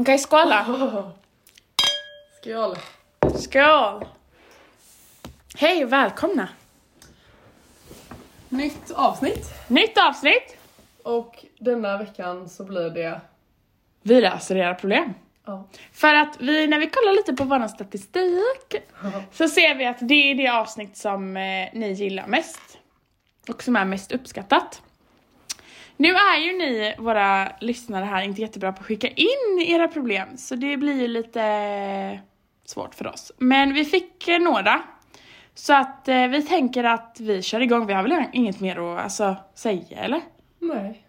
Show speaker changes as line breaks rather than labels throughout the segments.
Okej, skåla.
Skål.
Skål. Hej och välkomna.
Nytt avsnitt.
Nytt avsnitt.
Och denna veckan så blir det...
Vi löser era problem.
Ja.
För att vi, när vi kollar lite på vår statistik så ser vi att det är det avsnitt som eh, ni gillar mest. Och som är mest uppskattat. Nu är ju ni, våra lyssnare här, inte jättebra på att skicka in era problem. Så det blir ju lite eh, svårt för oss. Men vi fick eh, några. Så att eh, vi tänker att vi kör igång. Vi har väl inget mer att alltså, säga eller?
Nej.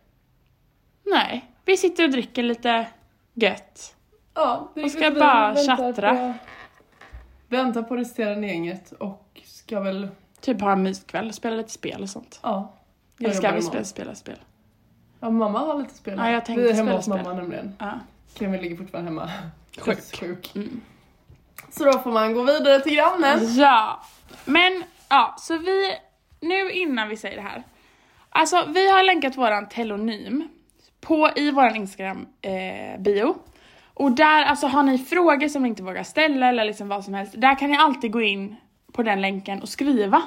Nej, vi sitter och dricker lite gött.
Ja, det
Och ska
vi
bara
väntar
tjattra.
På, väntar på resterande gänget och ska väl...
Typ ha en myskväll, spela lite spel och sånt.
Ja. jag
Eller ska
jobbar
vi spela,
imorgon.
spela spel?
Ja, mamma har lite spel.
Ja, jag tänkte
vi är hemma
spela
hos
spel.
mamma nämligen.
Ja.
Kevin ligger fortfarande hemma.
Sjuk.
Dödssjuk.
Mm.
Så då får man gå vidare till grannen.
Ja. Men, ja, så vi, nu innan vi säger det här. Alltså, vi har länkat våran telonym på, i våran Instagram-bio. och där, alltså har ni frågor som ni inte vågar ställa eller liksom vad som helst, där kan ni alltid gå in på den länken och skriva.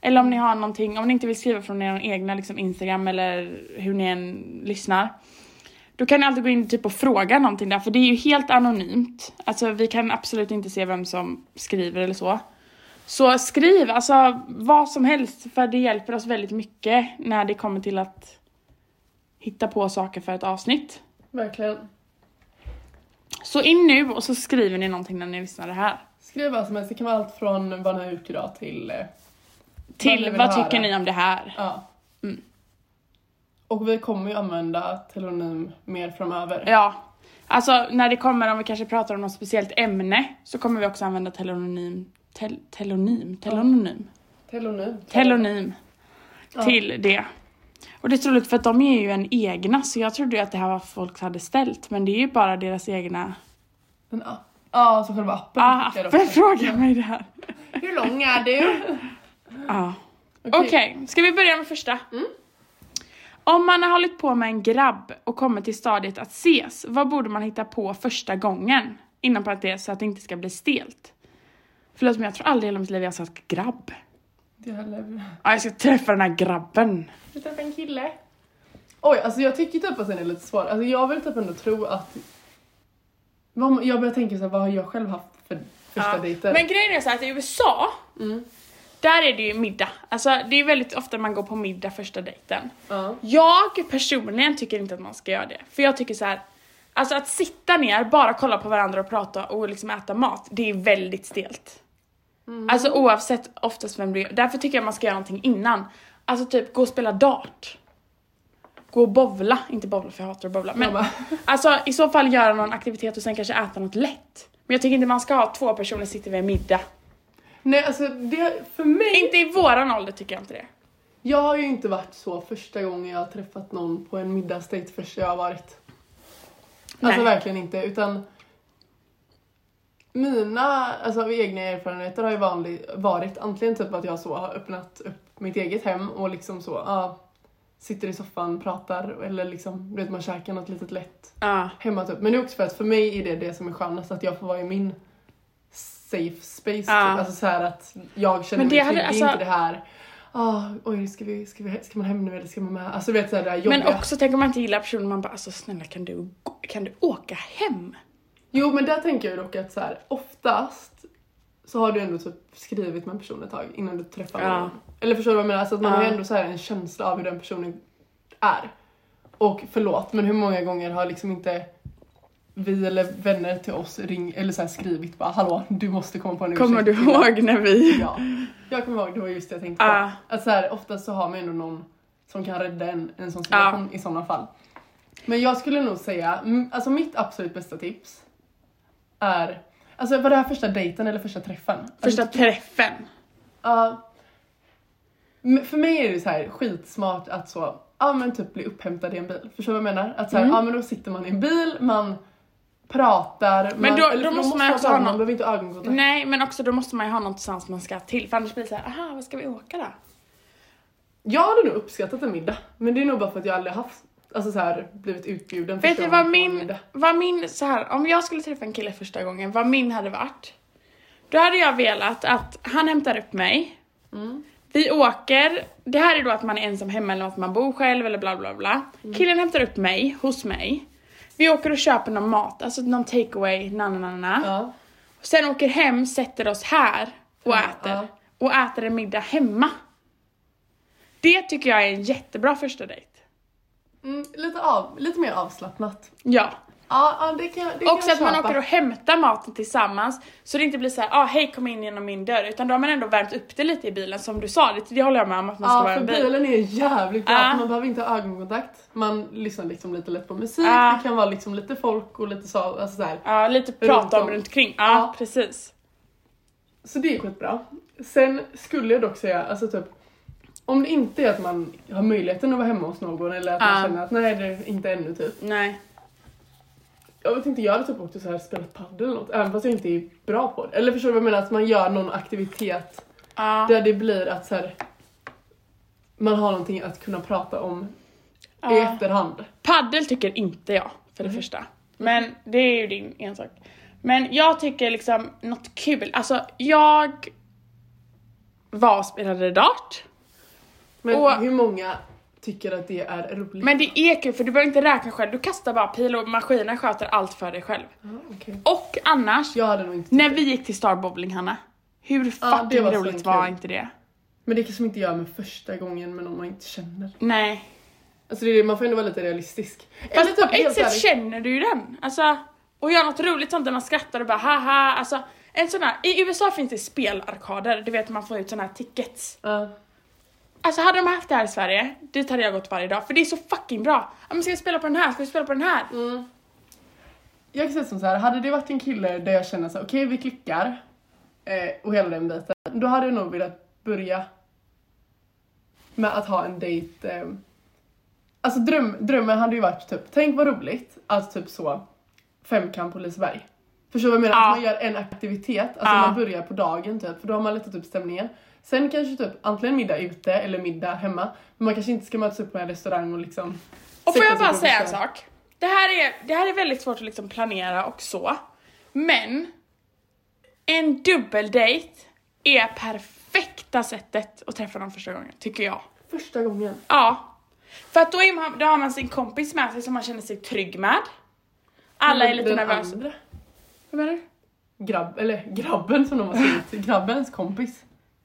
Eller om ni har någonting, om ni inte vill skriva från er egna liksom Instagram eller hur ni än lyssnar. Då kan ni alltid gå in typ och fråga någonting där, för det är ju helt anonymt. Alltså vi kan absolut inte se vem som skriver eller så. Så skriv, alltså vad som helst, för det hjälper oss väldigt mycket när det kommer till att hitta på saker för ett avsnitt.
Verkligen.
Så in nu och så skriver ni någonting när ni lyssnar det här.
Skriv vad som helst. Det kan vara allt från vad ni har gjort idag till... eh,
Till
ni
vad,
vill
tycker
höra.
ni om det här?
Ja.
Mm.
Och vi kommer ju använda telonym mer framöver.
Ja. Alltså när det kommer, om vi kanske pratar om något speciellt ämne, så kommer vi också använda telonym, tel, telonym, telonym,
Telonym.
telonym
Ja.
till det. Och det är så roligt för att de är ju en egna, så jag trodde ju att det här var folk hade ställt, men det är ju bara deras egna
Den app. Ja, så själva appen.
Ja,
skickar
Ah, appen
också.
frågar mig det här.
Hur lång är du?
Ja. Okej, Mm. ska vi börja med första? Om man har hållit på med en grabb och kommit till stadiet att ses, vad borde man hitta på första gången? Inom parentes, så att det inte ska bli stelt. Förlåt men jag tror aldrig i hela mitt liv jag har sagt grabb.
Det här lever.
Ja, jag ska träffa den här grabben.
Du träffade en kille. Oj, alltså jag tycker typ att den är lite svår. Alltså jag vill typ ändå tro att... Vad- Jag börjar tänka så här, vad har jag själv haft för första
Ja.
dejter?
Men grejen är så här att i USA,
Mm.
där är det ju middag. Alltså det är väldigt ofta man går på middag första dejten.
Ja.
Jag personligen tycker inte att man ska göra det. För jag tycker så här. Alltså att sitta ner, bara kolla på varandra och prata och liksom äta mat, det är väldigt stelt.
Mm.
Alltså oavsett oftast vem du är. Därför tycker jag man ska göra någonting innan. Alltså typ gå och spela dart. Gå och bowla, inte bowla för jag hatar att bowla. Men
Jag bara,
alltså i så fall göra någon aktivitet och sen kanske äta något lätt. Men jag tycker inte man ska ha två personer sitta vid en middag.
Nej alltså det, för mig,
Inte i våran ålder tycker jag inte det.
jag har ju inte varit så första gången jag har träffat någon på en middagsdejt första jag har varit. Alltså
Nej.
verkligen inte utan mina alltså, egna erfarenheter har ju vanlig, varit antingen typ att jag så har öppnat upp mitt eget hem och liksom så ja, sitter i soffan, pratar eller liksom du vet man käkar något litet lätt
Ja.
hemma typ. Men det är också för att för mig är det det som är skönast att jag får vara i min safe space
Ja.
typ. Alltså så här att jag känner
Men det
mig
hade-
trygg,
alltså-
inte det här ah, oj ska, vi, ska, vi, ska man hem nu eller ska man med? Alltså du vet såhär det här jobbiga.
Men också tänk om man inte gillar personen, man bara alltså snälla kan du, gå- kan du åka hem?
Jo men där tänker jag ju dock att så här, oftast så har du ändå typ skrivit med en person ett tag innan du träffar
Ja.
någon. Eller förstår du vad jag menar? Alltså att man
Ja.
har ju ändå så här en känsla av hur den personen är. Och förlåt men hur många gånger har liksom inte vi eller vänner till oss ring, eller så här skrivit bara hallå du måste komma på en
Kommer du
ursäkt Typ. innan."
ihåg när vi...
Ja. Jag kommer ihåg, det var just det jag tänkte på.
Ja.
Att så här, oftast så har man ändå någon som kan rädda en i en sån
Ja.
situation i sådana fall. Men jag skulle nog säga, mm, alltså mitt absolut bästa tips är, alltså var det här första dejten eller första träffen?
Första
Alltså,
träffen.
ja. Men för mig är det så här skitsmart att så,
Mm.
ja men typ bli upphämtad i en bil. Förstår du vad jag menar? Att så här, ja men då sitter man i en bil, man pratar. Man,
Men då-
eller
då
man
måste man också ha
ögonen,
någon-
man behöver inte ha ögonkontakt.
Nej men också då måste man ju ha något tillsammans man ska till för annars blir det såhär, aha vad ska vi åka då?
Jag hade nog uppskattat en middag, men det är nog bara för att jag aldrig haft, alltså så här, blivit utbjuden.
Vet
första
du
gången
vad
på en
min,
middag.
vad min, så här, om jag skulle träffa en kille första gången, vad min hade varit? Då hade jag velat att han hämtar upp mig,
Mm.
vi åker, det här är då att man är ensam hemma eller att man bor själv eller bla bla bla.
Mm.
Killen hämtar upp mig, hos mig. Vi åker och köper någon mat, alltså någon takeaway, na na na na.
Ja.
Sen åker hem, sätter oss här och
Ja,
äter.
Mm, ja.
Och äter en middag hemma. Det tycker jag är en jättebra första dejt.
Mm, lite, av, lite mer avslappnat.
Ja.
Ja, ja det kan jag det kan
Också
jag
att man
köpa.
åker och hämtar maten tillsammans så det inte blir så här, ah, hej kom in genom min dörr. Utan då har man ändå värmt upp det lite i bilen som du sa, det, det håller jag med om att man ska
Ja,
vara i
för
en bil.
bilen är jävligt bra,
Ja.
för man behöver inte ha ögonkontakt. Man lyssnar liksom lite lätt på musik,
Ja.
det kan vara liksom lite folk och lite så, alltså så här.
Ja, lite prata
Runt
om
om.
runt omkring. Ja,
Ja.
precis.
Så det är skitbra. Sen skulle jag dock säga, alltså typ om det inte är att man har möjligheten att vara hemma hos någon eller att
Ja.
man känner att nej det är inte ännu typ.
Nej.
Jag vet inte, jag hade typ åkt och så här spelat padel eller något, även fast jag inte är bra på det. Eller förstår du vad jag menar? Att man gör någon aktivitet
Ja.
där det blir att så här, man har någonting att kunna prata om i
ja.
efterhand.
Paddel tycker inte jag, för
Mm.
det första. Men det är ju din ensak. Men jag tycker liksom något kul, alltså jag var och spelade dart.
Men
Och-
hur många tycker att det är roligt?
Men det är kul för du behöver inte räkna själv, du kastar bara pil och maskinen sköter allt för dig själv.
Ja, okej.
Och annars,
Jag hade nog inte
när vi gick till Star Bowling Hanna, hur
Ja,
fucking
det var så
roligt
kul.
var inte det?
Men det kanske man inte gör med första gången med någon man inte känner.
Nej.
Alltså det är det, man får ändå vara lite realistisk. typ
Fast på ett
helt
sätt
ärligt,
känner du ju den. Alltså, och gör något roligt sånt där man skrattar och bara haha. Alltså, en sån här, I USA finns det spelarkader, du vet man får ut såna här tickets.
ja.
Alltså hade de haft det här i Sverige, dit hade jag gått varje dag för det är så fucking bra. Ja men ska vi spela på den här? Ska vi spela på den här?
Jag kan säga som så här, hade det varit en kille där jag känner så här, okej vi klickar eh, och hela den biten. Då hade jag nog velat börja med att ha en dejt. Eh, alltså dröm, drömmen hade ju varit typ, tänk vad roligt att typ så femkamp på Liseberg. Förstår du vad jag menar?
Ja.
Att man gör en aktivitet, alltså
Ja.
man börjar på dagen typ, för då har man lättat upp stämningen. Sen kanske typ antingen middag ute eller middag hemma. Men man kanske inte ska mötas upp på en restaurang och liksom
Och får
sätta
jag
sig
bara
på
säga en
bussen.
sak? Det här, är, det här är väldigt svårt att liksom planera och så. Men en dubbeldejt är perfekta sättet att träffa någon första gången, tycker jag.
Första gången.
Ja. För att då, är man, då har man sin kompis med sig som man känner sig trygg med. Alla är lite
Den
nervösa.
andra.
Vad menar du?
grabb, eller grabben som de har skrivit, grabbens kompis.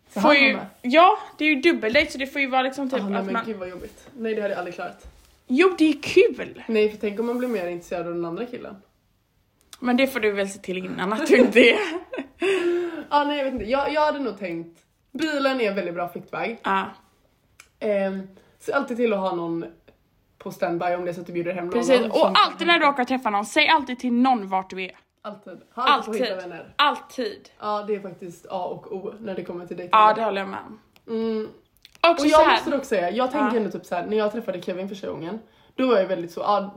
Så
Får
han var
ju,
med.
ja, det är ju dubbeldejt så det får ju vara liksom typ
ah, nej,
att
men
man...
gud vad jobbigt. Nej det hade jag aldrig klarat.
Jo, det är kul!
Nej för tänk om man blir mer intresserad av den andra killen.
Men det får du väl se till innan att du inte är...
Ah, nej jag vet inte, jag, jag hade nog tänkt, bilen är en väldigt bra flyktväg.
Ja,
Ehm, se alltid till att ha någon på standby om det är så att du bjuder hem någon.
precis.
som-
Och alltid när du åker och träffar någon, säg alltid till någon vart du är.
Alltid. Ha alltid.
Alltid.
Alltid. Hitta vänner. Ja
Alltid.
ah, det är faktiskt A och O när det kommer till dig.
Ja, det håller jag med om.
mm,
Också
Och
så
jag
här.
måste dock säga, jag tänker
Ja.
ändå typ såhär, när jag träffade Kevin första gången, då var jag väldigt så, ah,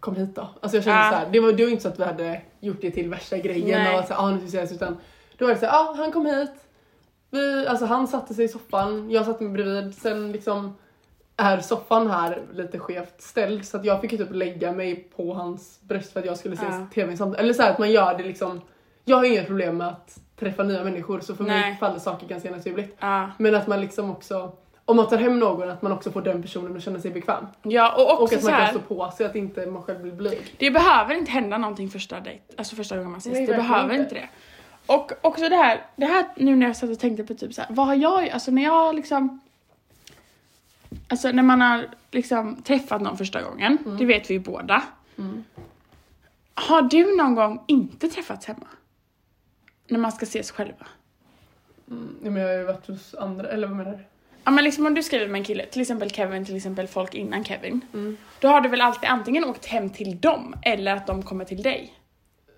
kom hit då. Alltså jag kände
Ja.
såhär, det var, det var inte så att vi hade gjort det till värsta grejen
Nej.
och att såhär, ah, nu ska vi ses, utan då var det såhär, ah, han kom hit, vi, alltså han satte sig i soffan, jag satte mig bredvid, sen liksom är soffan här lite skevt ställd så att jag fick ju typ lägga mig på hans bröst för att jag skulle se
Ja.
tv samtidigt. Eller såhär att man gör det liksom, jag har inga problem med att träffa nya människor så för
Nej.
mig faller saker ganska naturligt.
Ja.
Men att man liksom också, om man tar hem någon, att man också får den personen att känna sig bekväm.
ja, och
Och
också
att
så
man
här.
kan stå på sig, att inte man själv blir blyg.
Det behöver inte hända någonting första dejt, alltså första gången man ses.
Nej,
det
verkligen
behöver inte
inte.
det. Och också det här, det här nu när jag satt och tänkte på typ så här, vad har jag, alltså när jag liksom Alltså när man har liksom träffat någon första gången,
Mm.
det vet vi ju båda. Har du någon gång inte träffats hemma? När man ska ses själva?
Nej, men jag har ju varit hos andra, eller vad menar du?
Ja men liksom om du skriver med en kille, till exempel Kevin, till exempel folk innan Kevin.
Mm.
Då har du väl alltid antingen åkt hem till dem eller att de kommer till dig.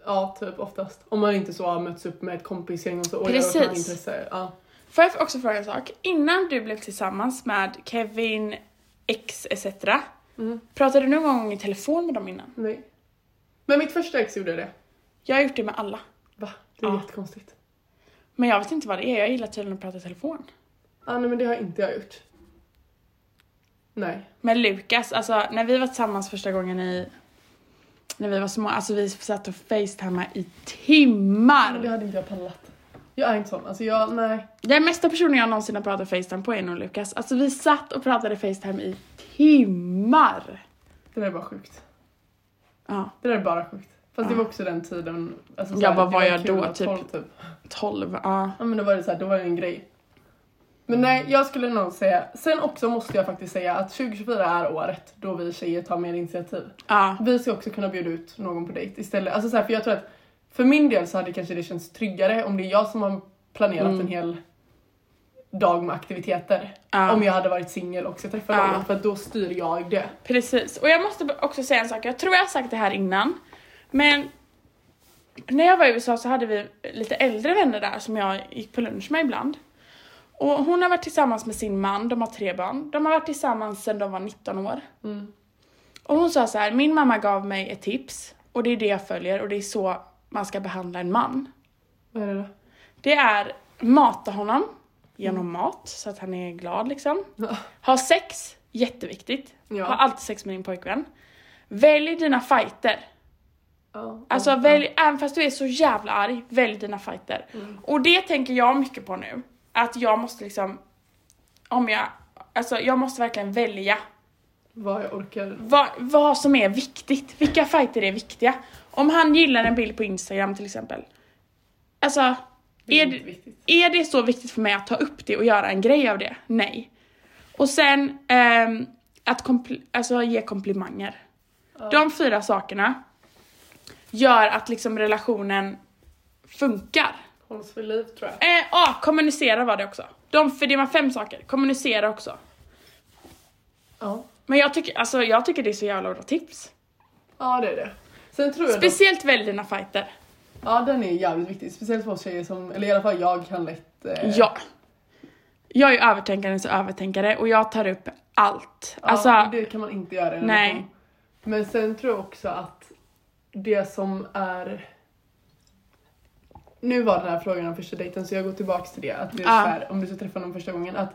Ja, typ oftast. Om man inte så har mötts upp med ett kompisgäng och så. Och
Precis.
Jag har intresse. Ja.
Får jag också fråga en sak? Innan du blev tillsammans med Kevin, X etc.
Mm.
Pratade du någon gång i telefon med dem innan?
Nej. Men mitt första ex gjorde det.
Jag har gjort det med alla.
Va? Det är
Ja.
jättekonstigt.
Men jag vet inte vad det är, jag gillar tydligen att prata i telefon.
Ah, nej men det har inte jag gjort. Nej.
Men Lukas, alltså när vi var tillsammans första gången i... När vi var små, alltså vi satt och facetimade i
Men Det
timmar!
hade inte jag pallat. Jag är inte sån. Alltså jag, nej.
Den mesta personen jag någonsin har pratat facetime på är nog Lukas. Alltså vi satt och pratade facetime i timmar!
Det där är bara sjukt.
Ja,
Det där är bara sjukt. Fast det
Ja.
var också den tiden. Alltså,
Ja,
såhär,
vad
det
var jag
kul
då,
att
typ?
folk, typ?
12, ja.
Ja men då var det så här, då var det en grej. Men nej, jag skulle nog säga, sen också måste jag faktiskt säga att 2024 är året då vi tjejer tar mer initiativ.
Ja,
Vi ska också kunna bjuda ut någon på dejt istället. Alltså så här, för jag tror att för min del så hade kanske det känts tryggare om det är jag som har planerat
Mm.
en hel dag med aktiviteter.
ja.
Om jag hade varit singel och ska träffa
Ja.
någon för att då styr jag det.
Precis, och jag måste också säga en sak, jag tror jag har sagt det här innan. Men när jag var i USA så hade vi lite äldre vänner där som jag gick på lunch med ibland. Och hon har varit tillsammans med sin man, de har tre barn. De har varit tillsammans sedan de var 19 år.
Mm.
Och hon sa så här, min mamma gav mig ett tips och det är det jag följer och det är så man ska behandla en man.
Vad är det då?
Det är mata honom genom mat så att han är glad liksom.
Ja.
Ha sex, jätteviktigt.
Ja.
Ha alltid sex med din pojkvän. Välj dina fighter.
Ja.
Alltså
Ja.
välj, även fast du är så jävla arg, välj dina fighter.
Mm.
Och det tänker jag mycket på nu. Att jag måste liksom, om jag, alltså jag måste verkligen välja
Vad jag orkar.
vad, vad som är viktigt. Vilka fighter är viktiga? Om han gillar en bild på Instagram till exempel. Alltså, är,
Det är inte
det-
viktigt.
är det så viktigt för mig att ta upp det och göra en grej av det? Nej. Och sen ehm, att kompl- alltså, ge komplimanger.
Ja.
De fyra sakerna gör att liksom relationen funkar.
Hålls vid liv tror jag.
Eh, ah, kommunicera var det också. De, för det var fem saker. Kommunicera också.
Ja.
Men jag tycker, alltså, jag tycker det är så jävla bra tips.
Ja det är det. Sen tror jag dock-
Speciellt välj dina fighter.
Ja, den är jävligt viktig. Speciellt för oss tjejer som, eller i alla fall jag kan lätt... Eh,
Ja. Jag är ju övertänkarens övertänkare och jag tar upp allt.
ja,
alltså,
det kan man inte göra. i en
Nej.
relation. Men sen tror jag också att det som är... Nu var den här frågan om första dejten så jag går tillbaks till det. Att det är
Ja.
så här, om du ska träffa någon första gången. Att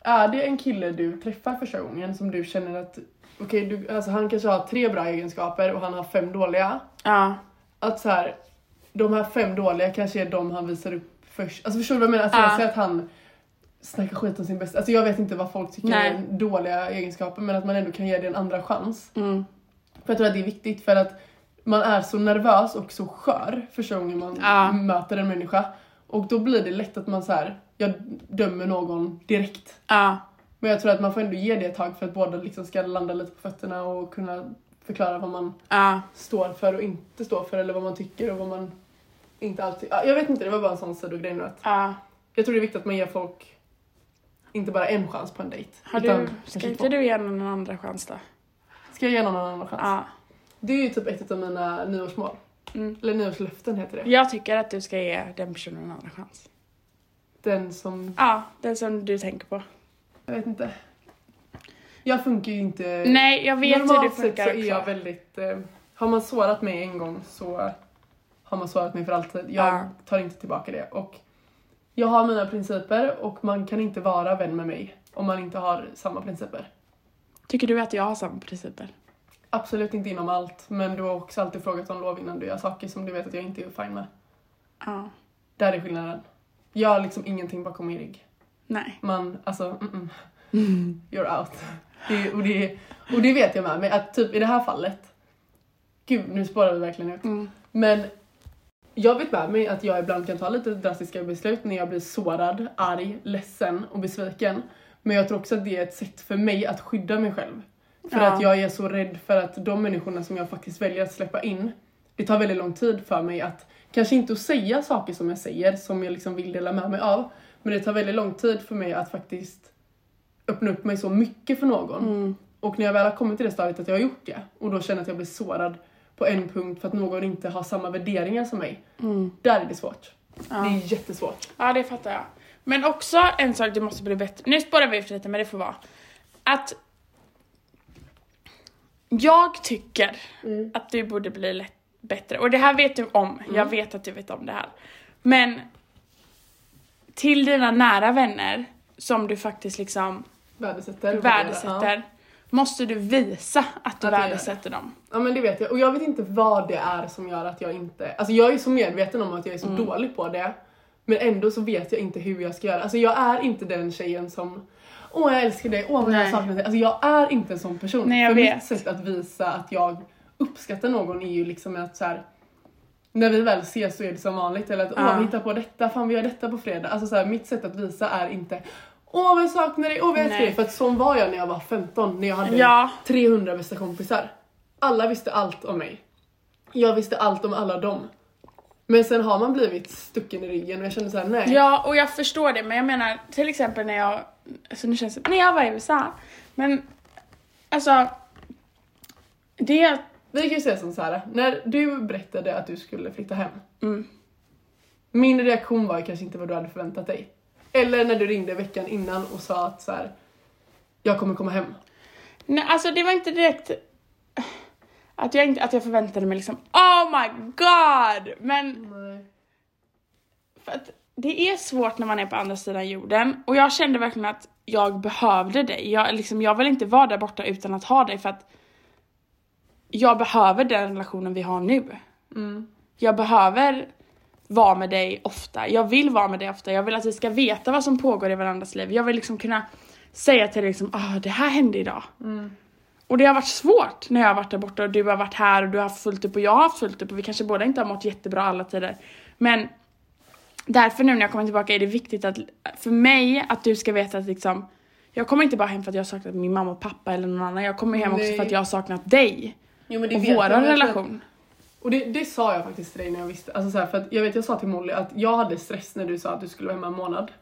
är det en kille du träffar första gången som du känner att okej, du, alltså han kanske har tre bra egenskaper och han har fem dåliga.
ja.
att så här, de här fem dåliga kanske är de han visar upp först. Alltså förstår du vad jag menar? Alltså,
Ja.
Jag säger att han snackar skit om sin bästa. Alltså jag vet inte vad folk tycker
Nej.
är dåliga egenskaper men att man ändå kan ge det en andra chans.
Mm.
För jag tror att det är viktigt för att man är så nervös och så skör första gången man
Ja.
möter en människa. Och då blir det lätt att man så här, jag dömer någon direkt.
Ja.
Men jag tror att man får ändå ge det ett tag för att båda liksom ska landa lite på fötterna och kunna förklara vad man
Ja.
står för och inte står för eller vad man tycker och vad man inte alltid... Ja, Jag vet inte, det var bara en sån sidogrej nu att
Ja.
jag tror det är viktigt att man ger folk inte bara en chans på en dejt.
Har
utan
du,
kanske
ska
två.
inte du ge någon en andra chans då?
Ska jag ge någon en annan chans?
Ja.
Det är ju typ ett av mina nyårsmål.
Mm.
Eller nyårslöften heter det.
Jag tycker att du ska ge den personen en andra chans.
Den som...
Ja, den som du tänker på.
Jag vet inte. Jag funkar ju inte...
Nej, jag vet hur det
Normalt
funkar
sett så är jag
också.
väldigt... Eh, har man sårat mig en gång så har man sårat mig för alltid. Jag
Ja.
tar inte tillbaka det. Och jag har mina principer och man kan inte vara vän med mig om man inte har samma principer.
Tycker du att jag har samma principer?
Absolut inte inom allt, men du har också alltid frågat om lov innan du gör saker som du vet att jag inte är fine med.
Ja.
Där är skillnaden. Jag har liksom ingenting bakom min rygg.
Nej.
Man, alltså, mm -mm. you're out. Det, och, det, och det vet jag med mig, att typ i det här fallet, gud nu spårar vi verkligen ut.
Mm.
Men jag vet med mig att jag ibland kan ta lite drastiska beslut när jag blir sårad, arg, ledsen och besviken. Men jag tror också att det är ett sätt för mig att skydda mig själv. För
Ja.
att jag är så rädd för att de människorna som jag faktiskt väljer att släppa in, det tar väldigt lång tid för mig att, kanske inte att säga saker som jag säger, som jag liksom vill dela med mig av, men det tar väldigt lång tid för mig att faktiskt öppna upp mig så mycket för någon.
Mm.
Och när jag väl har kommit till det stadiet att jag har gjort det och då känner att jag blir sårad på en punkt för att någon inte har samma värderingar som mig.
Mm.
Där är det svårt. Det
Ja.
är jättesvårt.
ja, det fattar jag. Men också en sak du måste bli bättre... Nu spårar vi ut lite, men det får vara. Att Jag tycker
Mm.
att du borde bli lätt, bättre. Och det här vet du om. Jag vet att du vet om det här. Men till dina nära vänner som du faktiskt liksom
Värdesätter.
värdesätter.
Ja.
Måste du visa att du
Att jag gör det.
värdesätter dem.
ja men det vet jag. Och jag vet inte vad det är som gör att jag inte... Alltså jag är så medveten om att jag är så
Mm.
dålig på det. Men ändå så vet jag inte hur jag ska göra. Alltså jag är inte den tjejen som Åh jag älskar dig, åh vad jag
Nej.
saknar dig. Alltså jag är inte en sån person.
Nej, jag
För
vet.
mitt sätt att visa att jag uppskattar någon är ju liksom att så här. När vi väl ses så är det som vanligt. Eller att åh
Ja.
vi hittar på detta, fan vi gör detta på fredag. Alltså så här, mitt sätt att visa är inte Åh vad jag saknar dig, åh vad jag älskar
Nej.
dig. För att sån var jag när jag var 15, när jag hade
Ja.
300 bästa kompisar. Alla visste allt om mig. Jag visste allt om alla dem. Men sen har man blivit stucken i ryggen och jag kände såhär, nej.
Ja, och jag förstår det, men jag menar till exempel när jag, alltså nu känns det, när jag var i USA, men alltså, det,
Vi kan ju säga som så här. när du berättade att du skulle flytta hem.
Mm.
Min reaktion var kanske inte vad du hade förväntat dig. Eller när du ringde veckan innan och sa att så här, jag kommer komma hem.
nej, alltså det var inte direkt att jag, inte, att jag förväntade mig liksom, oh my god, men
Nej.
för att det är svårt när man är på andra sidan jorden och jag kände verkligen att jag behövde dig. Jag, liksom, jag vill inte vara där borta utan att ha dig för att jag behöver den relationen vi har nu.
Mm.
jag behöver vara med dig ofta. Jag vill vara med dig ofta. Jag vill att vi ska veta vad som pågår i varandras liv. Jag vill liksom kunna säga till dig liksom, ah, det här hände idag.
Mm.
Och det har varit svårt när jag har varit där borta och du har varit här och du har haft fullt upp och jag har haft fullt upp och vi kanske båda inte har mått jättebra alla tider. Men därför nu när jag kommer tillbaka är det viktigt att, för mig att du ska veta att liksom, jag kommer inte bara hem för att jag har saknat min mamma och pappa eller någon annan. Jag kommer hem också
Nej.
för att jag har saknat dig
Jo, men
och
vet jag, men jag
våran
tror att-
relation.
Och det, det sa jag faktiskt till dig när jag visste. Alltså så här, för att jag vet, jag sa till Molly att jag hade stress när du sa att du skulle vara hemma en månad.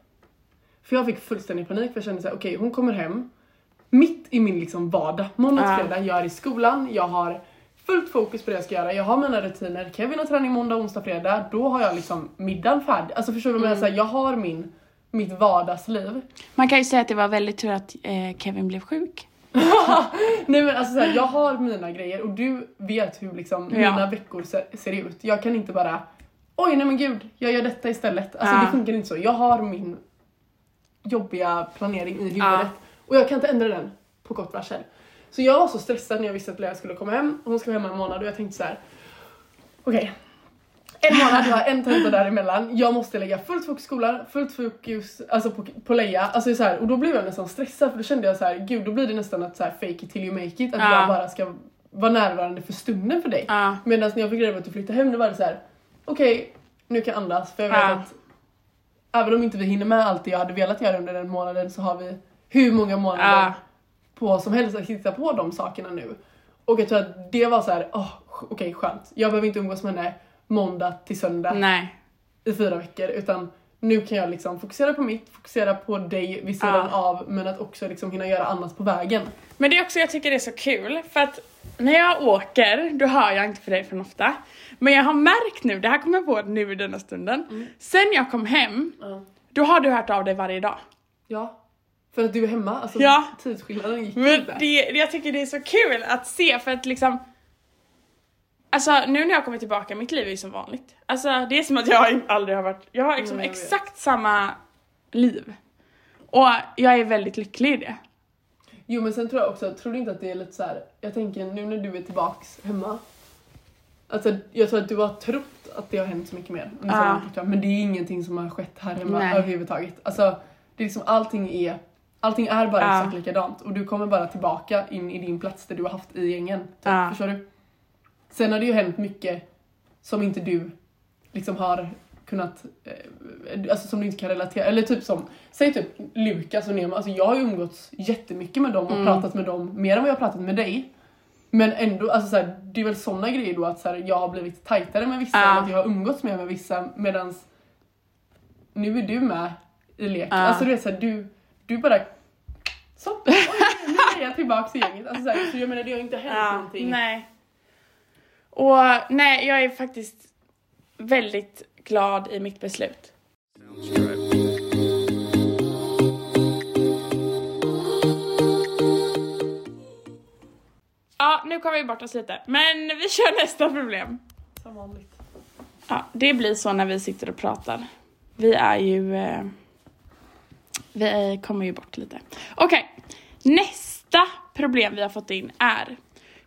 För jag fick fullständig panik för jag kände så här, okej hon kommer hem mitt i min liksom vardag. Måndag
Ja.
till fredag, jag är i skolan, jag har fullt fokus på det jag ska göra. Jag har mina rutiner. Kevin har träning måndag, onsdag, fredag. Då har jag liksom middagen färdig. Alltså förstår du vad jag menar? Så här, Jag har min, mitt vardagsliv.
Man kan ju säga att det var väldigt tur att eh, Kevin blev sjuk.
Nej men alltså såhär, jag har mina grejer och du vet hur liksom
Ja.
mina veckor ser, ser ut. Jag kan inte bara Oj nej men gud, jag gör detta istället. Alltså
Ja.
det funkar inte så. Jag har min jobbiga planering i huvudet.
Ja.
Och jag kan inte ändra den på kort varsel. Så jag var så stressad när jag visste att Lea skulle komma hem. Hon ska vara hemma en månad och jag tänkte så här. Okej. En månad, jag har en tenta däremellan. Jag måste lägga fullt fokus på skolan, fullt fokus alltså på, på Leia. Alltså så här, och då blev jag nästan stressad för då kände jag så här, gud då blir det nästan att så här, fake it till you make it. Att
Ja.
jag bara ska vara närvarande för stunden för dig.
Ja.
Medan när jag fick reda på att du flyttade hem, då var det så här: okej, nu kan jag andas. För jag vet
Ja.
att även om inte vi hinner med allt det jag hade velat göra under den månaden så har vi hur många månader
Ja.
på som helst att hitta på de sakerna nu. Och jag tror att det var så här, åh, sk- okej skönt. Jag behöver inte umgås med henne måndag till söndag
Nej.
i fyra veckor utan nu kan jag liksom fokusera på mitt, fokusera på dig vid sidan
Ja.
av men att också liksom hinna göra annat på vägen.
Men det är också, jag tycker det är så kul för att när jag åker, då hör jag inte för dig för ofta. Men jag har märkt nu, det här kommer jag på nu i denna stunden. Sen jag kom hem, då har du hört av dig varje dag.
Ja. För att du är hemma, alltså
Ja.
tidsskillnaden gick
Men
inte.
det, jag tycker det är så kul att se för att liksom Alltså nu när jag kommer tillbaka, mitt liv är ju som vanligt. Alltså det är som att jag aldrig har varit, jag har liksom
Mm, jag vet.
exakt samma liv. Och jag är väldigt lycklig i det.
Jo men sen tror jag också, tror du inte att det är lite så här. jag tänker nu när du är tillbaks hemma. Alltså jag tror att du har trott att det har hänt så mycket mer. om jag säger
Ja.
det, tror jag. Men det är ingenting som har skett här hemma
Nej.
överhuvudtaget. Alltså det är liksom allting är, allting är bara
Ja.
exakt likadant och du kommer bara tillbaka in i din plats där du har haft i gängen. Typ.
Ja.
Förstår du? Sen har det ju hänt mycket som inte du liksom har kunnat, eh, alltså som du inte kan relatera, eller typ som, säg typ Lukas och Nemo, alltså jag har ju umgåtts jättemycket med dem och
Mm.
pratat med dem mer än vad jag har pratat med dig. Men ändå, alltså så här, det är väl sådana grejer då att så här, jag har blivit tajtare med vissa,
Ja.
eller att jag har umgåtts mer med vissa medans nu är du med i leken.
Ja.
Alltså du vet så här, du, du bara så, oj, nu är jag tillbaka i gänget. Alltså så, här, så jag menar det har ju inte hänt
Ja,
någonting.
nej. Och nej, jag är faktiskt väldigt glad i mitt beslut. Ja, nu kom vi bort oss lite. Men vi kör nästa problem.
Som vanligt.
Ja, det blir så när vi sitter och pratar. Vi är ju... Eh, vi är- kommer ju bort lite. Okej, nästa problem vi har fått in är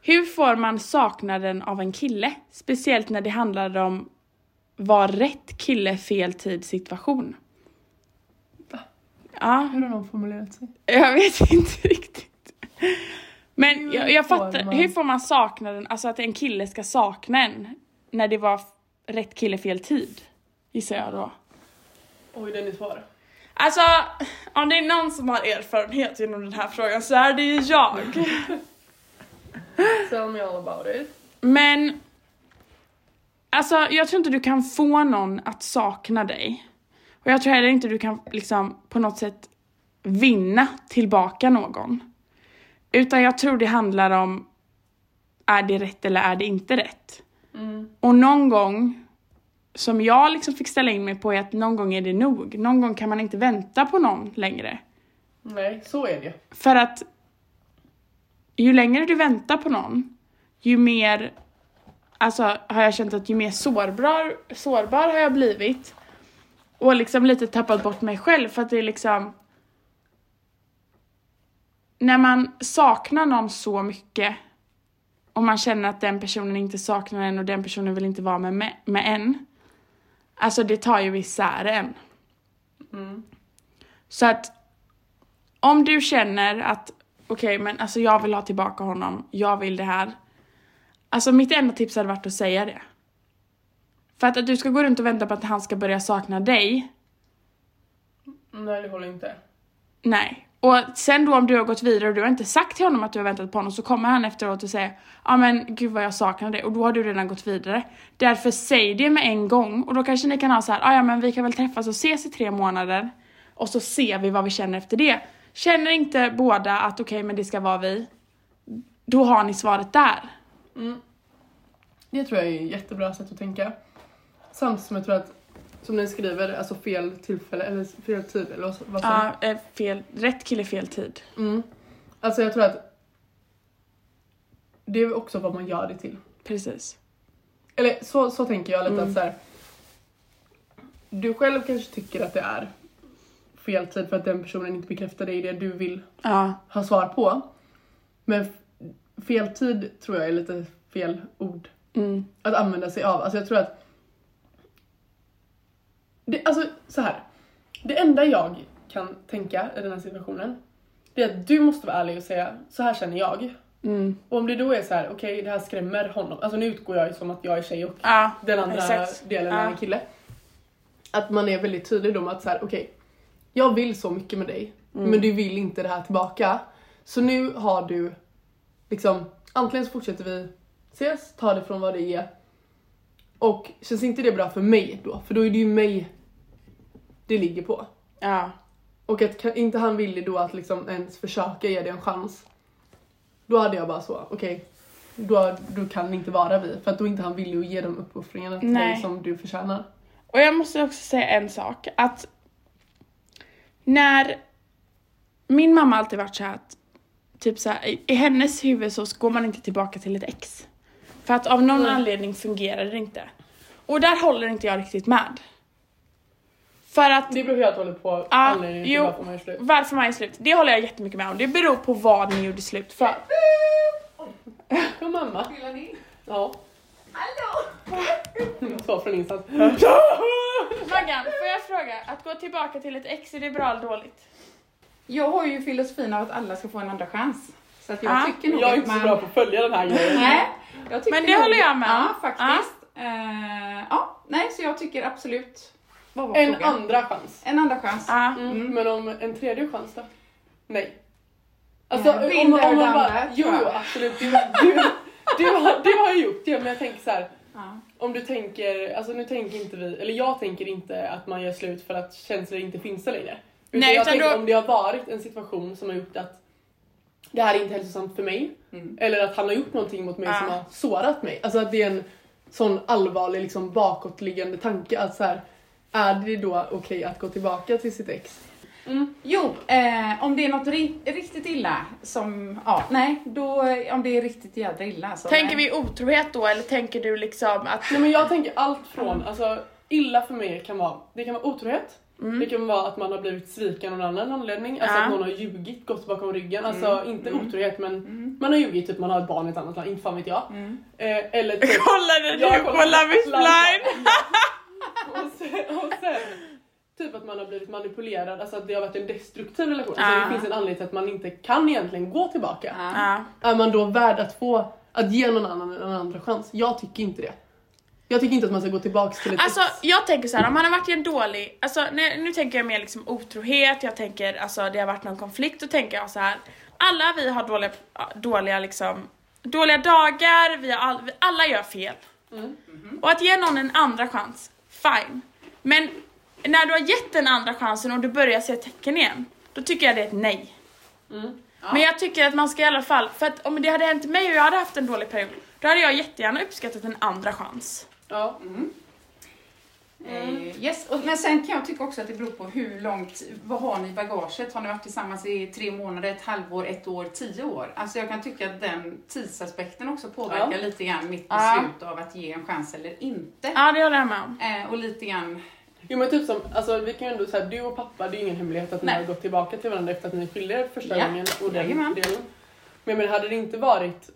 Hur får man saknaden av en kille? Speciellt när det handlar om var rätt kille, fel tid, situation.
Va?
Ja,
Hur har de formulerat sig?
jag vet inte riktigt. Men jag, jag
får
fattar,
man-
hur får man saknaden, alltså att en kille ska sakna en när det var f- rätt kille fel tid? Gissar jag då.
Oj, den är svår.
Alltså, om det är någon som har erfarenhet inom den här frågan så är det ju jag.
Tell me all about it.
Men, alltså jag tror inte du kan få någon att sakna dig. Och jag tror heller inte du kan liksom på något sätt vinna tillbaka någon. Utan jag tror det handlar om, är det rätt eller är det inte rätt?
Mm.
Och någon gång, som jag liksom fick ställa in mig på, är att någon gång är det nog. Någon gång kan man inte vänta på någon längre.
Nej, så är det ju.
För att ju längre du väntar på någon, ju mer, alltså har jag känt att ju mer sårbar, sårbar har jag blivit. Och liksom lite tappat bort mig själv för att det är liksom när man saknar någon så mycket och man känner att den personen inte saknar en och den personen vill inte vara med, med, med en. Alltså det tar ju isär en.
Mm.
Så att om du känner att okej, men alltså jag vill ha tillbaka honom, jag vill det här. Alltså mitt enda tips hade varit att säga det. För att, att du ska gå runt och vänta på att han ska börja sakna dig,
Nej, det håller inte.
nej. Och sen då om du har gått vidare och du har inte sagt till honom att du har väntat på honom så kommer han efteråt och säger ja men gud vad jag saknar dig och då har du redan gått vidare. Därför säg det med en gång och då kanske ni kan ha så här, "Ah, ja men vi kan väl träffas och ses i tre månader och så ser vi vad vi känner efter det. Känner inte båda att okej men det ska vara vi, då har ni svaret där.
Mm. Det tror jag är ett jättebra sätt att tänka. Samtidigt som jag tror att, som ni skriver, alltså fel tillfälle eller fel tid eller vad, vad som.
Ja, eh, fel, rätt kille fel tid.
Mm. Alltså jag tror att det är också vad man gör det till.
Precis.
Eller så, så tänker jag lite
Mm.
att så här, Du själv kanske tycker att det är fel tid för att den personen inte bekräftar dig i det du vill
Ja,
ha svar på. Men f- fel tid tror jag är lite fel ord
mm,
att använda sig av. Alltså jag tror att... Det, alltså så här. Det enda jag kan tänka i den här situationen det är att du måste vara ärlig och säga så här känner jag.
mm.
Och om det då är så här, okej det här skrämmer honom. Alltså nu utgår jag ju som att jag är tjej och
Ja,
den andra
exakt.
delen är en
Ja.
kille. Att man är väldigt tydlig då med att så här, okej, jag vill så mycket med dig,
Mm.
men du vill inte det här tillbaka. Så nu har du liksom, antingen så fortsätter vi ses, ta det från vad det är. Och känns inte det bra för mig då, för då är det ju mig det ligger på.
ja.
Och att kan, inte han ville då att liksom ens försöka ge det en chans. Då hade jag bara så, okej. då, då kan det inte vara vi. För att då är inte han villig att ge de uppoffringarna till
Nej.
dig som du förtjänar.
Och jag måste också säga en sak. Att när min mamma har alltid varit så här att typ så här, i- i hennes huvud så går man inte tillbaka till ett ex. För att av någon
Mm.
anledning fungerar det inte. Och där håller inte jag riktigt med. För att
Det beror helt och hållet på anledningen till
Ah, jo.
varför man gör slut.
varför man är slut, det håller jag jättemycket med om. Det beror på vad ni gjorde slut för.
Kom mamma.
Vill ni?
Ja.
Hallå!
Så från insatt.
Maggan, får jag fråga, att gå tillbaka till ett ex, är det bra eller dåligt?
Jag har ju filosofin av att alla ska få en andra chans. Så att jag
Ja,
tycker nog
Jag är
att
inte
man...
så bra på att följa den här grejen.
Nej, jag tycker
Men det
nog-
håller jag med.
Ja, faktiskt. Eh, ja, nej, så jag tycker absolut... Vad var
En
frågan?
andra chans.
en andra chans.
Ja.
Mm. Men om en tredje chans då? Nej. Alltså
Ja, det
om, man-
ena
om
och
man
det
bara,
andra,
jo
tror
jo
jag.
absolut. Du, du, du, har, du har gjort det men jag tänker så här.
Ja.
Om du tänker, alltså nu tänker inte vi, eller jag tänker inte att man gör slut för att känslor inte finns där längre. Utan
Nej,
jag
utan
tänker
då-
om det har varit en situation som har gjort att det här är inte hälsosamt för mig.
Mm.
Eller att han har gjort någonting mot mig
Ja.
som har sårat mig. Alltså att det är en sån allvarlig liksom bakåtliggande tanke att så här, är det då okej att gå tillbaka till sitt ex? Mm.
Jo, eh, om det är något ri- riktigt illa som, ja, nej, då, eh, om det är riktigt jädra illa så
Tänker
nej.
vi otrohet då eller tänker du liksom att...
Nej men jag tänker allt från, alltså illa för mig kan vara, det kan vara otrohet, det kan vara att man har blivit sviken av någon annan anledning, alltså
Mm. Ja. Mm.
att någon har ljugit, gått bakom ryggen, alltså inte otrohet men
Mm.
man har ljugit, typ man har ett barn i ett annat land, inte fan vet jag.
Mm.
Eh, eller typ,
Kollade du på Love is blind?
och, sen, och sen typ att man har blivit manipulerad, alltså att det har varit en destruktiv relation, alltså
Ja.
det finns en anledning till att man inte kan egentligen gå tillbaka.
Ja.
Ja.
Är man då värd att få, att ge någon annan en andra chans? Jag tycker inte det. Jag tycker inte att man ska gå tillbaka till ett
Alltså
ex.
jag tänker så här, om man har varit i en dålig, alltså nu, nu tänker jag mer liksom otrohet, jag tänker alltså det har varit någon konflikt, då tänker jag så här. alla vi har dåliga, dåliga liksom, dåliga dagar, vi har all, vi, alla gör fel.
Mm.
Och att ge någon en andra chans, fine. Men när du har gett den andra chansen och du börjar se tecken igen, då tycker jag det är ett nej.
Mm.
Ja.
Men jag tycker att man ska i alla fall, för att om det hade hänt mig och jag hade haft en dålig period, då hade jag jättegärna uppskattat en andra chans.
Ja.
Mm.
Mm.
Eh, Yes, och, men sen kan jag tycka också att det beror på hur långt, vad har ni i bagaget? Har ni varit tillsammans i tre månader, ett halvår, ett år, tio år? Alltså jag kan tycka att den tidsaspekten också påverkar
Ja.
lite grann mitt
Ja.
beslut av att ge en chans eller inte.
Ja, det håller jag med om.
Eh, och lite grann,
Jo men typ som, alltså vi kan ju ändå säga du och pappa, det är ju ingen hemlighet att ni
Nej.
har gått tillbaka till varandra efter att ni skilde er första
Ja.
gången och den
Jajamän.
delen. Men, men hade det inte varit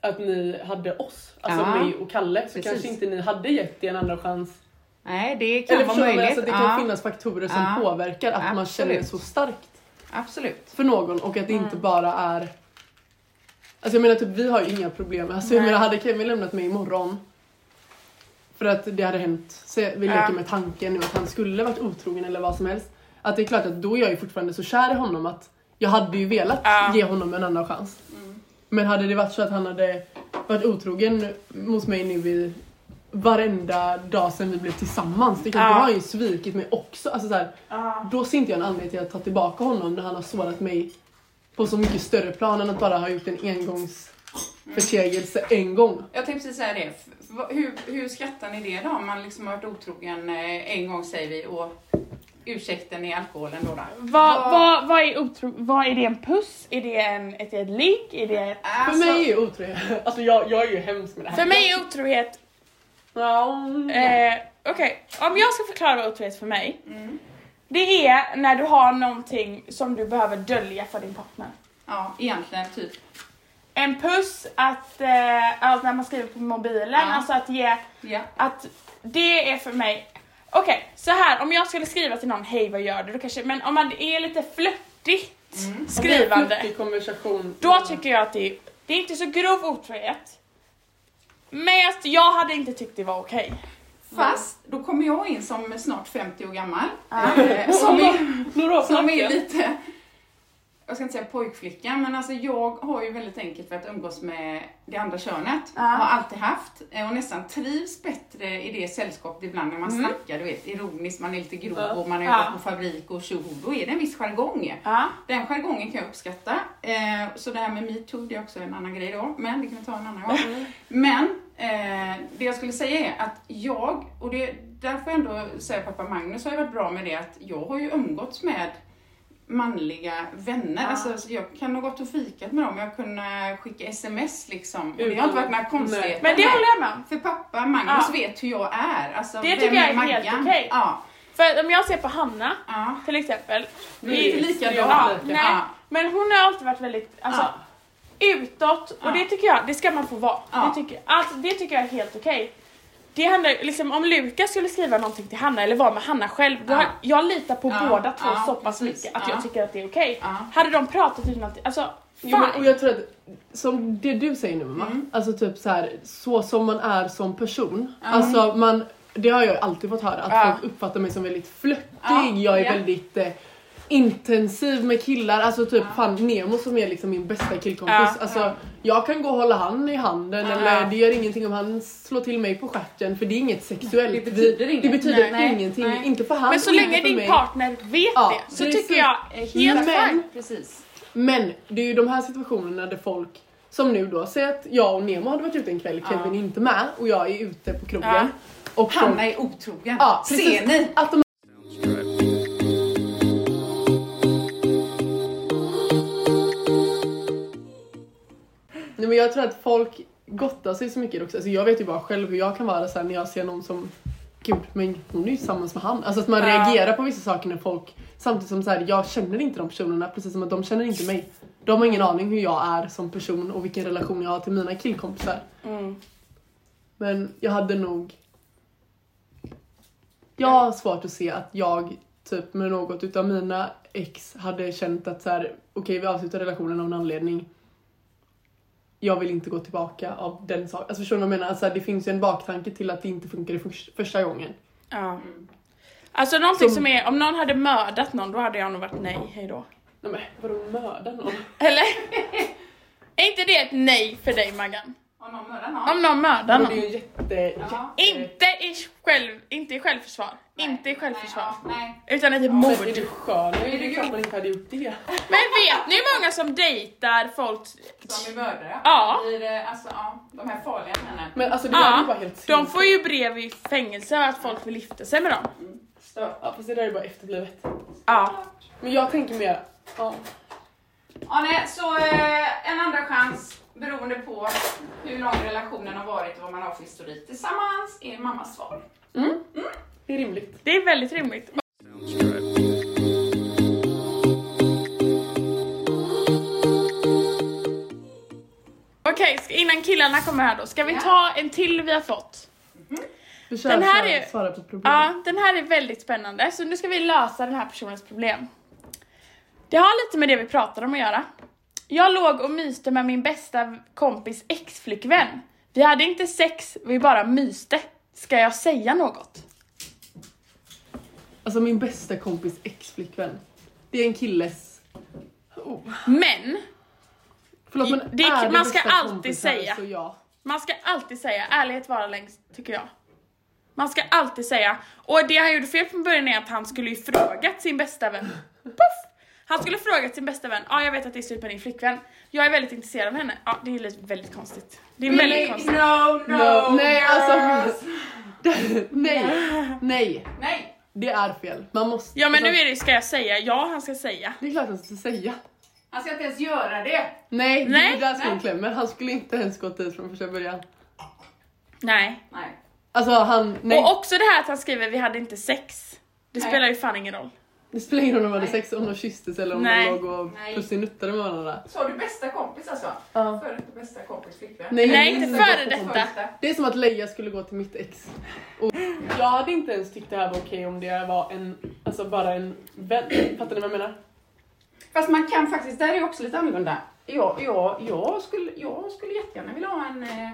att ni hade oss, alltså
Ja.
mig och Kalle, så
Precis.
kanske inte ni hade gett er en andra chans.
nej det kan
Eller förstår
vara
du vad jag
möjligt.
menar? alltså, det
ja,
kan finnas faktorer som
Ja.
påverkar att man känner
Absolut.
så starkt
Absolut.
för någon och att det
Mm.
inte bara är Alltså jag menar typ vi har ju inga problem. Alltså jag
Nej.
menar hade Kevin lämnat mig imorgon för att det hade hänt, så vi leker
Ja.
med tanken nu att han skulle varit otrogen eller vad som helst. Att det är klart att då är jag ju fortfarande så kär i honom att jag hade ju velat
Ja. Mm.
ge honom en annan chans. Men hade det varit så att han hade varit otrogen mot mig nu i varenda dag sedan vi blev tillsammans. Det är klart,
Ja.
då har han ju svikit mig också. Alltså så här, då ser inte jag en anledning till att ta tillbaka honom när han har sårat mig på så mycket större plan än att bara ha gjort en engångsförseelse en gång.
Jag tänkte precis säga det. F- vad- Hur, hur skattar ni det då om man liksom har varit otrogen eh, en gång säger vi och ursäkten är alkoholen då? då?
Vad,
Vad-
vad, vad, är otro, vad är det en puss? Är det en, ett, ett ligg? Är det ett...
Alltså,
För mig är otrohet, alltså jag, jag är ju hemsk med det här.
För mig är otrohet,
Ja,
eh, okej, om jag ska förklara vad otrohet för mig.
Mm.
Det är när du har någonting som du behöver dölja för din partner.
Ja, egentligen typ.
En puss, att, eh, alltså när man skriver på mobilen,
Ja.
alltså att ge
Ja.
att det är för mig, okej så här om jag skulle skriva till någon hej vad gör du då kanske, men om man är lite flörtigt
Mm.
skrivande,
I konversation.
då tycker jag att det är, det är inte så grov otrohet. Men jag- jag hade inte tyckt det var okej.
Fast då kommer jag in som snart 50 år gammal.
Ja.
eh, Som är,
Några år
som är
snacken.
lite, jag ska inte säga pojkflicka, men alltså jag har ju väldigt enkelt för att umgås med det andra könet.
Ja.
Har alltid haft eh, och nästan trivs bättre i det sällskapet ibland när man
Mm.
snackar, du vet ironiskt, man är lite grov
Ja.
och man har
Ja.
jobbat på fabrik och tjoho, då är det en viss jargong.
Ja.
Den jargongen kan jag uppskatta. Eh, så det här med metoo, det är också en annan grej då, men det kan vi ta en annan gång.
Mm.
Men eh, det jag skulle säga är att jag, och det, där får jag ändå säga pappa Magnus har ju varit bra med det att jag har ju umgåtts med manliga vänner.
Ja.
Alltså, så jag kan ha gått och fikat med dem, jag har kunnat skicka sms liksom. Och det har
Utan-
inte varit några konstigheter.
Men det håller jag med om.
För pappa Magnus
Ja.
vet hur jag är. Alltså,
Det
vem
tycker jag är
Maggan?
helt okej.
Ja,
För att om jag ser på Hanna
ja.
till exempel,
Vi är inte likadana.
ja,
lika.
nej,
Ja.
men hon har alltid varit väldigt alltså,
Ja.
utåt och
Ja.
det tycker jag, det ska man få vara.
Ja.
Det, tycker, alltså, det tycker jag är helt okej. Det handlar liksom om Lukas skulle skriva någonting till Hanna eller vara med Hanna själv, då
Ja.
har, jag litar på
Ja.
båda två
Ja,
så pass
precis.
mycket att
Ja.
jag tycker att det är okej.
Ja.
Hade de pratat utan att, alltså fine.
Jo, men, och jag tror att, som det du säger nu mamma,
Mm.
alltså typ så här, så som man är som person.
Mm.
Alltså man, det har jag alltid fått höra, att
Ja.
folk uppfattar mig som väldigt flörtig,
Ja,
jag är
ja.
väldigt eh, intensiv med killar, alltså typ fan Nemo som är liksom min bästa killkompis.
Ja,
alltså
ja.
jag kan gå och hålla han i handen
Ja.
eller det gör ingenting om han slår till mig på stjärten för det är inget sexuellt.
Det betyder
Vi-
inget.
Det betyder
Nej,
ingenting,
nej.
inte för han
men så
och
länge
inte för
din
mig.
partner vet
Ja,
det så
precis.
tycker jag är helt
Men-
fine.
Precis.
Men det är ju de här situationerna där folk som nu då, säg att jag och Nemo hade varit ute en kväll, Kevin är inte med och jag är ute på krogen.
Ja.
Och folk-
Hanna är otrogen.
ja, precis,
Ser ni?
Att de men jag tror att folk gottar sig så mycket också. Alltså jag vet ju bara själv hur jag kan vara så här när jag ser någon som Gud, men hon är ju tillsammans med han. Alltså att man
Ja.
reagerar på vissa saker när folk Samtidigt som så här, jag känner inte de personerna precis som att de känner inte mig. De har ingen aning hur jag är som person och vilken relation jag har till mina killkompisar.
Mm.
Men jag hade nog... Jag har svårt att se att jag typ med något utav mina ex hade känt att så här, okej vi avslutar relationen av en anledning. Jag vill inte gå tillbaka av den saken. Alltså förstår du vad jag menar? Alltså, det finns ju en baktanke till att det inte funkade för första gången.
Ja. Alltså någonting
Som-
som är, om någon hade mördat någon då hade jag nog varit nej, hejdå.
Nej men vadå mörda någon?
Eller? är inte det ett nej för dig Maggan? Mm.
Om någon mördar någon.
Om någon mördar
Det är
någon.
ju en jätte...
Ja.
jätte...
Inte i, själv, inte i självförsvar. Inte i självförsvar.
Nej, ja, nej.
Utan ett
Men
mord.
är du skön? Det är ju klart man inte hade gjort det.
Men vet ni hur många som dejtar folk?
Som är mördare.
Ja.
I det- alltså, ja, de här farliga männen.
Men alltså det där är ju bara
Ja,
helt
de får ju brev i fängelse att folk vill gifta sig med dem.
Stört.
Ja fast det där är bara efterblivet.
Ja.
Men jag tänker mer... Ja.
Ja, nej, så eh, en andra chans beroende på hur lång relationen har varit och vad man har för historik tillsammans är mammas svar.
Mm.
Mm. Det är rimligt.
Det är väldigt rimligt. Okej, ska- innan killarna kommer här då, ska vi
Ja.
ta en till vi har fått?
Försök
Den här
svara-
är-
svara på problem.
Ja, den här är väldigt spännande, så nu ska vi lösa den här personens problem. Det har lite med det vi pratade om att göra. Jag låg och myste med min bästa kompis ex-flickvän. Vi hade inte sex, vi bara myste. Ska jag säga något?
Alltså min bästa kompis ex-flickvän. Det är en killes... Oh.
Men,
Förlåt men
Det-
är det
man ska
bästa
alltid
kompisar
säga.
Så ja.
Man ska alltid säga, ärlighet vara längst, tycker jag. Man ska alltid säga, och det han gjorde fel från början är att han skulle ju frågat sin bästa vän. Puff! Han skulle frågat sin bästa vän, ja jag vet att det är slut med din flickvän, jag är väldigt intresserad av henne. Ja det är lite väldigt konstigt. Det är väldigt konstigt.
No, no,
No, nej,
girls.
alltså- nej, nej.
Nej,
Det är fel. Man måste...
Ja men nu
alltså,
är det, ska jag säga, ja han ska säga.
Det är klart han ska säga.
han ska inte ens göra det.
Nej, det
Nej,
är där skon
nej.
klämmer. Han skulle inte ens gått dit från första början.
Nej.
Nej.
Alltså han, nej.
Och också det här att han skriver, vi hade inte sex. Det
Nej.
spelar ju fan ingen roll.
Det spelar ingen roll om de hade
Nej.
sex, om de kysstes eller om
Nej.
de låg och
Nej.
pussinuttade med varandra.
Så har du bästa kompis alltså?
Ja.
Före detta bästa kompis flickvän?
Nej,
Nej,
det är
inte
så-
före detta.
Första.
Det är som att Leia skulle gå till mitt ex. Och jag hade inte ens tyckt det här var okej om det var en, alltså bara en vän. Fattar ni vad jag menar?
Fast man kan faktiskt, där är ju också lite annorlunda. Jag, jag, jag, skulle, jag skulle jättegärna vilja ha en, eh,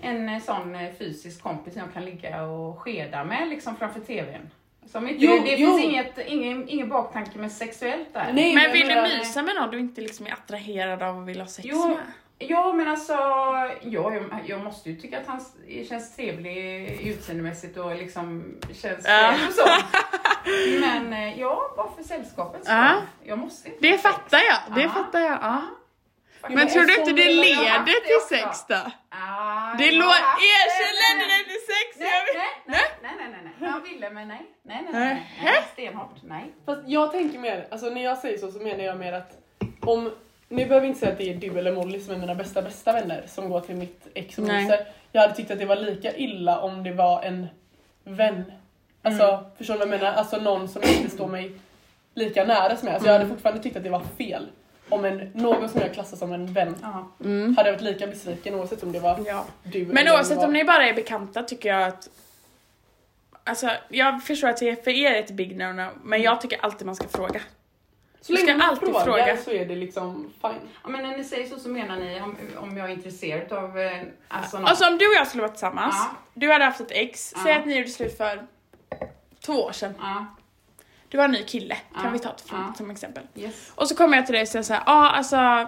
en eh, sån eh, fysisk kompis som jag kan ligga och skeda med liksom framför TVn. Som inte,
Jo,
det
jo.
finns inget, ingen, ingen baktanke med sexuellt där.
Nej,
Men vill
jag
du
menar-
mysa med någon du inte liksom är attraherad av och vill ha sex
Jo.
med?
Ja men alltså, ja, jag, jag måste ju tycka att han s- känns trevlig utseendemässigt och liksom känns
Ja.
skön och så. Men eh, ja, bara för sällskapets skull.
Ja.
Jag måste inte.
Det fattar jag, det
Ja.
fattar jag. Ja.
Faktiskt.
Men tror du inte det
Jag har haft
leder
det också.
till sex då?
Ah,
Det
jag har
låter...
haft
Erkänn
Nej,
det leder till sex!
Nej,
jag vet.
nej, nej, nej, nej, nej, nej. Han ville men nej. Nej, nej, nej. nej. nej. Stenhårt, nej.
Fast jag tänker mer, alltså när jag säger så så menar jag mer att om, nu behöver jag inte säga att det är du eller Molly som är mina bästa bästa vänner som går till mitt ex och
Nej.
myser. Jag hade tyckt att det var lika illa om det var en vän. Alltså förstår du vad jag menar? Alltså någon som inte står mig lika nära som jag. Alltså jag hade fortfarande tyckt att det var fel. Om en, någon som jag klassar som en vän
Ja.
hade jag varit lika besviken oavsett om det var
Ja.
du
Mm. Men
eller
oavsett
var-
om ni bara är bekanta tycker jag att... Alltså jag förstår att det är för er är ett big no-no, men jag tycker alltid man ska fråga.
Så
Du
länge
ska
man
alltid
frågar
fråga.
så är det liksom fine.
Ja, men när ni säger så så menar ni om, om jag är intresserad av eh, alltså något.
Alltså om du och jag skulle vara tillsammans,
Ja.
du hade haft ett ex,
Ja.
säg att ni gjorde slut för två år sedan.
ja,
Du har en ny kille, kan
Ja.
vi ta ett från,
Ja.
som exempel.
yes.
Och så kommer jag till dig och säger såhär, ja ah, alltså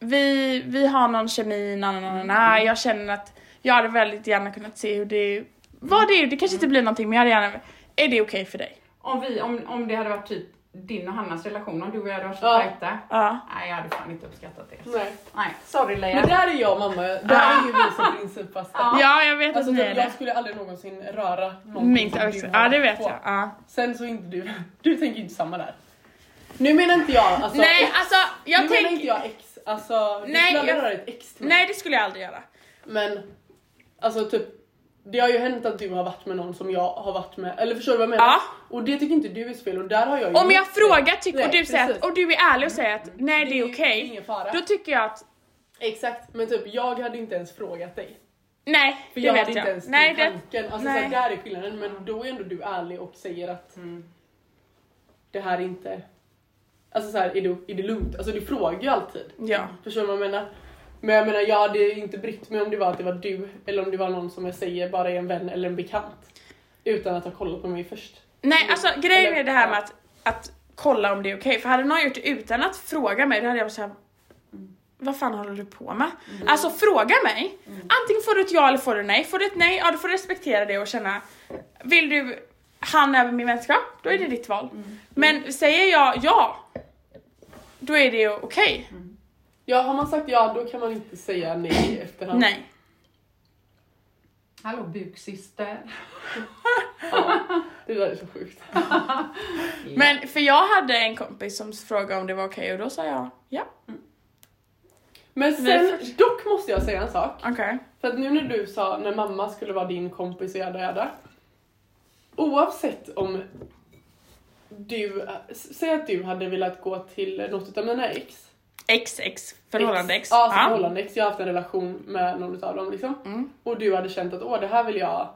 vi, vi har någon kemi, na, na, na, na,
Mm.
na. jag känner att jag hade väldigt gärna kunnat se hur det, vad det är, det kanske inte
Mm.
blir någonting men jag hade gärna, är det okej för dig?
Om, vi, om, om det hade varit typ din och Hannas relation, om du och jag hade varit så
Ja.
tajta.
Ja.
Nej, jag hade fan inte uppskattat det.
Nej.
Nej, sorry Leia.
Men där är jag och mamma, där är ju vi som principfasta.
Ja.
Ja, jag vet
Alltså,
att ni
typ,
är
jag
det.
skulle aldrig någonsin röra någonting
Min
som du
också.
har
Ja, det
lagt
vet
på.
jag. Ja.
Sen så är inte du, du tänker ju inte samma där. Nu menar inte jag alltså,
Nej,
ex,
alltså jag
nu menar inte
tänker...
jag ex, Alltså, du
Nej,
skulle aldrig
jag-
göra ett ex till mig.
Nej det skulle jag aldrig göra.
Men, alltså typ, det har ju hänt att du har varit med någon som jag har varit med. Eller förstår du vad jag menar?
Ja.
Och det tycker inte du är fel och där har jag ju
Om jag
gjort
frågar tycker, och,
Nej,
du säger att,
precis. Mm.
och du är ärlig och säger att nej det är
ju
okej.
Ingen fara.
Då tycker jag att
Exakt, men typ jag hade inte ens frågat dig.
nej,
För
det
jag hade
vet
inte
jag.
ens
Nej,
den
det,
tanken. Alltså
nej.
Så här, där är skillnaden men då är ändå du ärlig och säger att det här är inte... Alltså så här, är, det, är det lugnt? Alltså du frågar ju alltid.
ja.
Förstår du vad jag menar? Men jag menar jag hade inte brytt mig om det var att det var du eller om det var någon som jag säger bara är en vän eller en bekant. Utan att ha kollat på mig först.
Nej,
Mm.
alltså grejen
Eller-
är det här med att, att kolla om det är okej. För hade någon gjort det utan att fråga mig, då hade jag varit såhär, vad fan håller du på med?
Mm.
Alltså fråga mig. Antingen får du ett ja eller får du nej. Får du ett nej, ja då får du respektera det och känna, vill du han över min vänskap, då är det ditt val.
Mm.
Men säger jag ja, då är det ju okej.
Ja, har man sagt ja då kan man inte säga nej i efterhand.
Nej.
Hallå buksyster.
Ja, det där är så sjukt.
Men för jag hade en kompis som frågade om det var okej och då sa jag ja,
Men
Vi
sen,
får-
dock måste jag säga en sak.
okej.
För att nu när du sa när mamma skulle vara din kompis och jada jada. Oavsett om du, s- säg att du hade velat gå till något av mina ex.
XX, förhållande X.
Ja, alltså förhållande ex. Jag har haft en relation med någon av dem liksom.
Mm.
Och du hade känt att åh det här vill jag,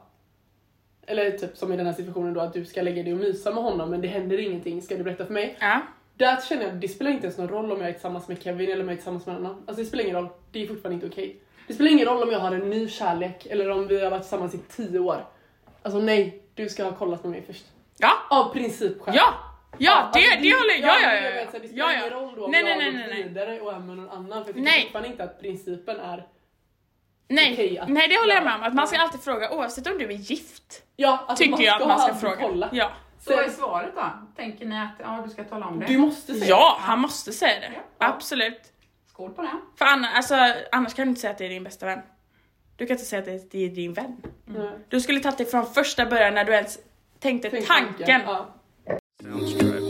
eller typ som i den här situationen då att du ska lägga dig och mysa med honom men det händer ingenting, ska du berätta för mig?
Ja.
Där känner jag att det spelar inte ens någon roll om jag är tillsammans med Kevin eller om jag är tillsammans med någon annan. Alltså det spelar ingen roll. Det är fortfarande inte okej. Det spelar ingen roll om jag har en ny kärlek eller om vi har varit tillsammans i tio år. Alltså nej, du ska ha kollat med mig först.
ja.
Av principskäl.
Ja! Ja,
alltså,
det, det håller jag ja, ja,
men jag
ja,
menar, så här, Det
ja,
spelar ingen
ja.
roll då om
Nej,
nej,
nej,
jag
nej,
har
nej, nej.
gått vidare och är med någon annan. För jag tycker
Nej.
fortfarande inte att principen är...
Nej.
okej att-
nej, det håller jag med om. Att man ska alltid fråga oavsett om du är gift.
Ja, alltså
Tycker jag att man ska
alltid
fråga.
kolla.
Ja.
Så är svaret då? Tänker ni att ja, du ska tala om det?
Du måste säga
ja, han måste säga det.
Ja.
Absolut.
Skål på det.
För annars, alltså, annars kan du inte säga att det är din bästa vän. Du kan inte säga att det är din vän.
Nej.
Du skulle tagit det från första början när du ens tänkte
Mm. Tänk
tanken.
Ja.
Soundstripe.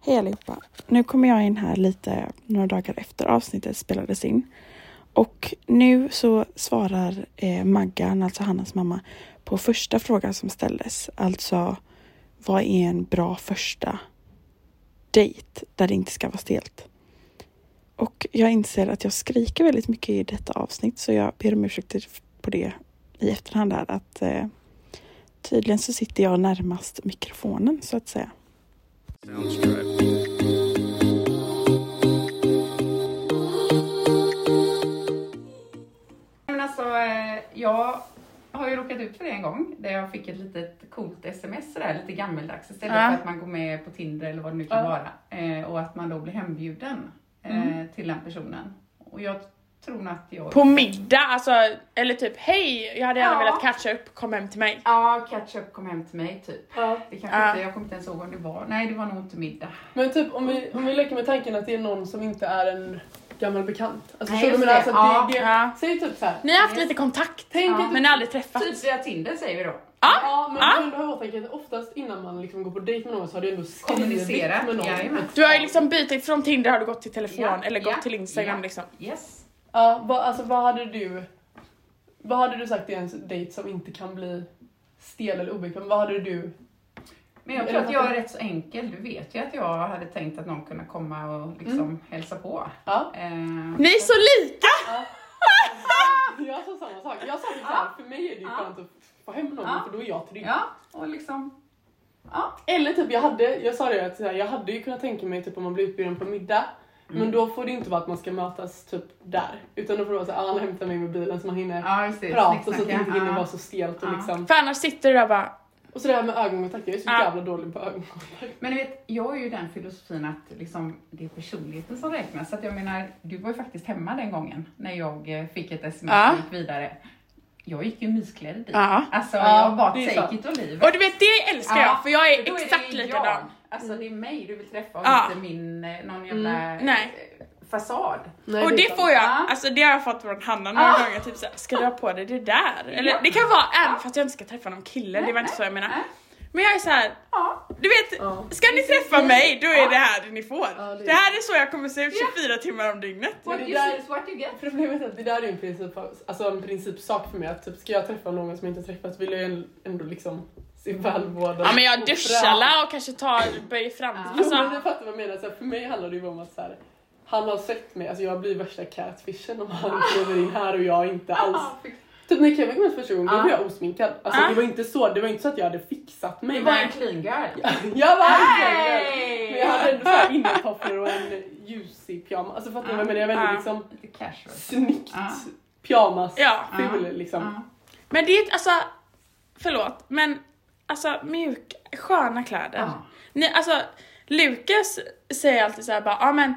Hej allihopa! Nu kommer jag in här lite några dagar efter avsnittet spelades in. Och nu så svarar eh, Maggan, alltså Hannas mamma, på första frågan som ställdes. Alltså, vad är en bra första dejt där det inte ska vara stelt? Och jag inser att jag skriker väldigt mycket i detta avsnitt så jag ber om ursäkt till- på det i efterhand där att eh, tydligen så sitter jag närmast mikrofonen så att säga.
Soundstripe.
Men alltså, eh, jag har ju råkat ut för det en gång där jag fick ett litet coolt sms sådär, lite gammeldags istället
Ja.
för att man går med på Tinder eller vad det nu kan
Ja.
vara. Eh, och att man då blir hembjuden eh, till den personen. Och jag tror nog att jag...
På middag, alltså, eller typ hej, jag hade gärna
Ja.
velat catcha upp, kom hem till mig.
Ja, ketchup kom hem till mig typ.
Ja.
Det kanske
Ja.
inte, jag kommer inte ens ihåg om det var. Nej, det var nog inte middag.
Men typ om vi, om vi leker med tanken att det är någon som inte är en gammal bekant. Alltså, Nej,
Nej,
du
just
menar, alltså,
det.
det, det,
Ja.
Säg typ så här.
Ni har haft lite kontakt,
Tänk
Ja.
att
men aldrig träffats.
Typ via Tinder säger vi då.
Ja, men
Ja.
du ändå ha i åtanke att oftast innan man liksom går på dejt med någon så har du ändå skrivit
Kommunicera.
med någon.
Jajamän.
Du har ju liksom bytt, från Tinder har du gått till telefon
Ja,
eller gått
ja,
till Instagram
ja.
liksom.
Yes.
Ja, vad, alltså vad hade du vad hade du sagt i en dejt som inte kan bli stel eller obekväm? Vad hade du?
Men jag tror att jag är rätt så enkel. Du vet ju att jag hade tänkt att någon kunde komma och liksom hälsa på.
Mm. Ja.
Eh,
Ni är så lika!
Jag sa samma sak. Jag sa typ såhär, för mig är det ju
Ja.
skönt att få hem någon
Ja.
för då är jag trygg.
Ja, och liksom... Ja.
Eller typ jag hade, jag sa det att så här, jag hade ju kunnat tänka mig typ om man blir utbjuden på middag. Men då får det inte vara att man ska mötas typ där. Utan då får det vara såhär, ah, han hämtar mig med bilen så man hinner
Ja, just det.
prata så att det
Snicksnacka.
inte hinner
Ja.
vara så stelt och
Ja.
liksom.
För annars sitter du där och bara,
Och så det här med ögonkontakt, jag är så
Ja.
jävla dålig på ögonkontakt.
Men du vet, jag är ju den filosofin att liksom, det är personligheten som räknas. Så att jag menar, du var ju faktiskt hemma den gången när jag eh, fick ett sms
Ja.
och gick vidare. Jag gick ju mysklädd dit.
ja.
Alltså,
Ja,
jag bara
det är
take
sant.
it och leave.
Och du vet det älskar
Ja,
jag för jag
För då
är exakt
det ju
likadan.
jag. Alltså det är mig du vill träffa och
Ja.
inte min, eh, någon jävla
Mm, nej.
eh, fasad.
Nej,
Och det
sant.
får jag,
Ja.
alltså det har jag fått från Hanna några gånger, typ såhär, ska du ha på dig det där? Eller
Ja.
det kan vara även fast jag inte ska träffa någon kille, det var inte så jag menar.
Nej.
Men jag är så här,
Äh? Ja,
du vet,
Ja.
ska ni träffa mig då är det här det ni får.
Ja, det är-
Det här är så jag kommer se ut 24 timmar om dygnet.
what
det
you
där-
see is what you get.
Problemet är att det där är ju en, princip, alltså en principsak för mig. Att typ, ska jag träffa någon som jag inte träffat vill jag ju ändå liksom se välvårdad
Ja men jag
och
duschar
fram.
la och kanske tar böj fram.
Ja.
Jo, men
Alltså,
du fattar vad jag menar. Så här, för mig handlar det ju om att så här, han har sett mig, alltså jag blir värsta catfishen om han kliver in här och jag inte alls.
Ja, fy-
Typ när Kevin kom ut första gången då
Ja.
blev jag osminkad. Alltså
Ja.
det var inte så, det var inte så att jag hade fixat mig.
Det var en clean girl.
Jag var
Hey!
hey! Men jag hade ändå såhär innetofflor och en ljusig pyjamas. Alltså fattar ni vad jag menar? Jag var ändå
Ja.
liksom
Lite casual.
snyggt
Ja.
pyjamas
Ja.
ful
Ja.
liksom.
Ja.
men det är ett- alltså, förlåt, men alltså mjuk, sköna kläder.
Ja.
Ni, alltså, Lukas säger alltid såhär bara, ja men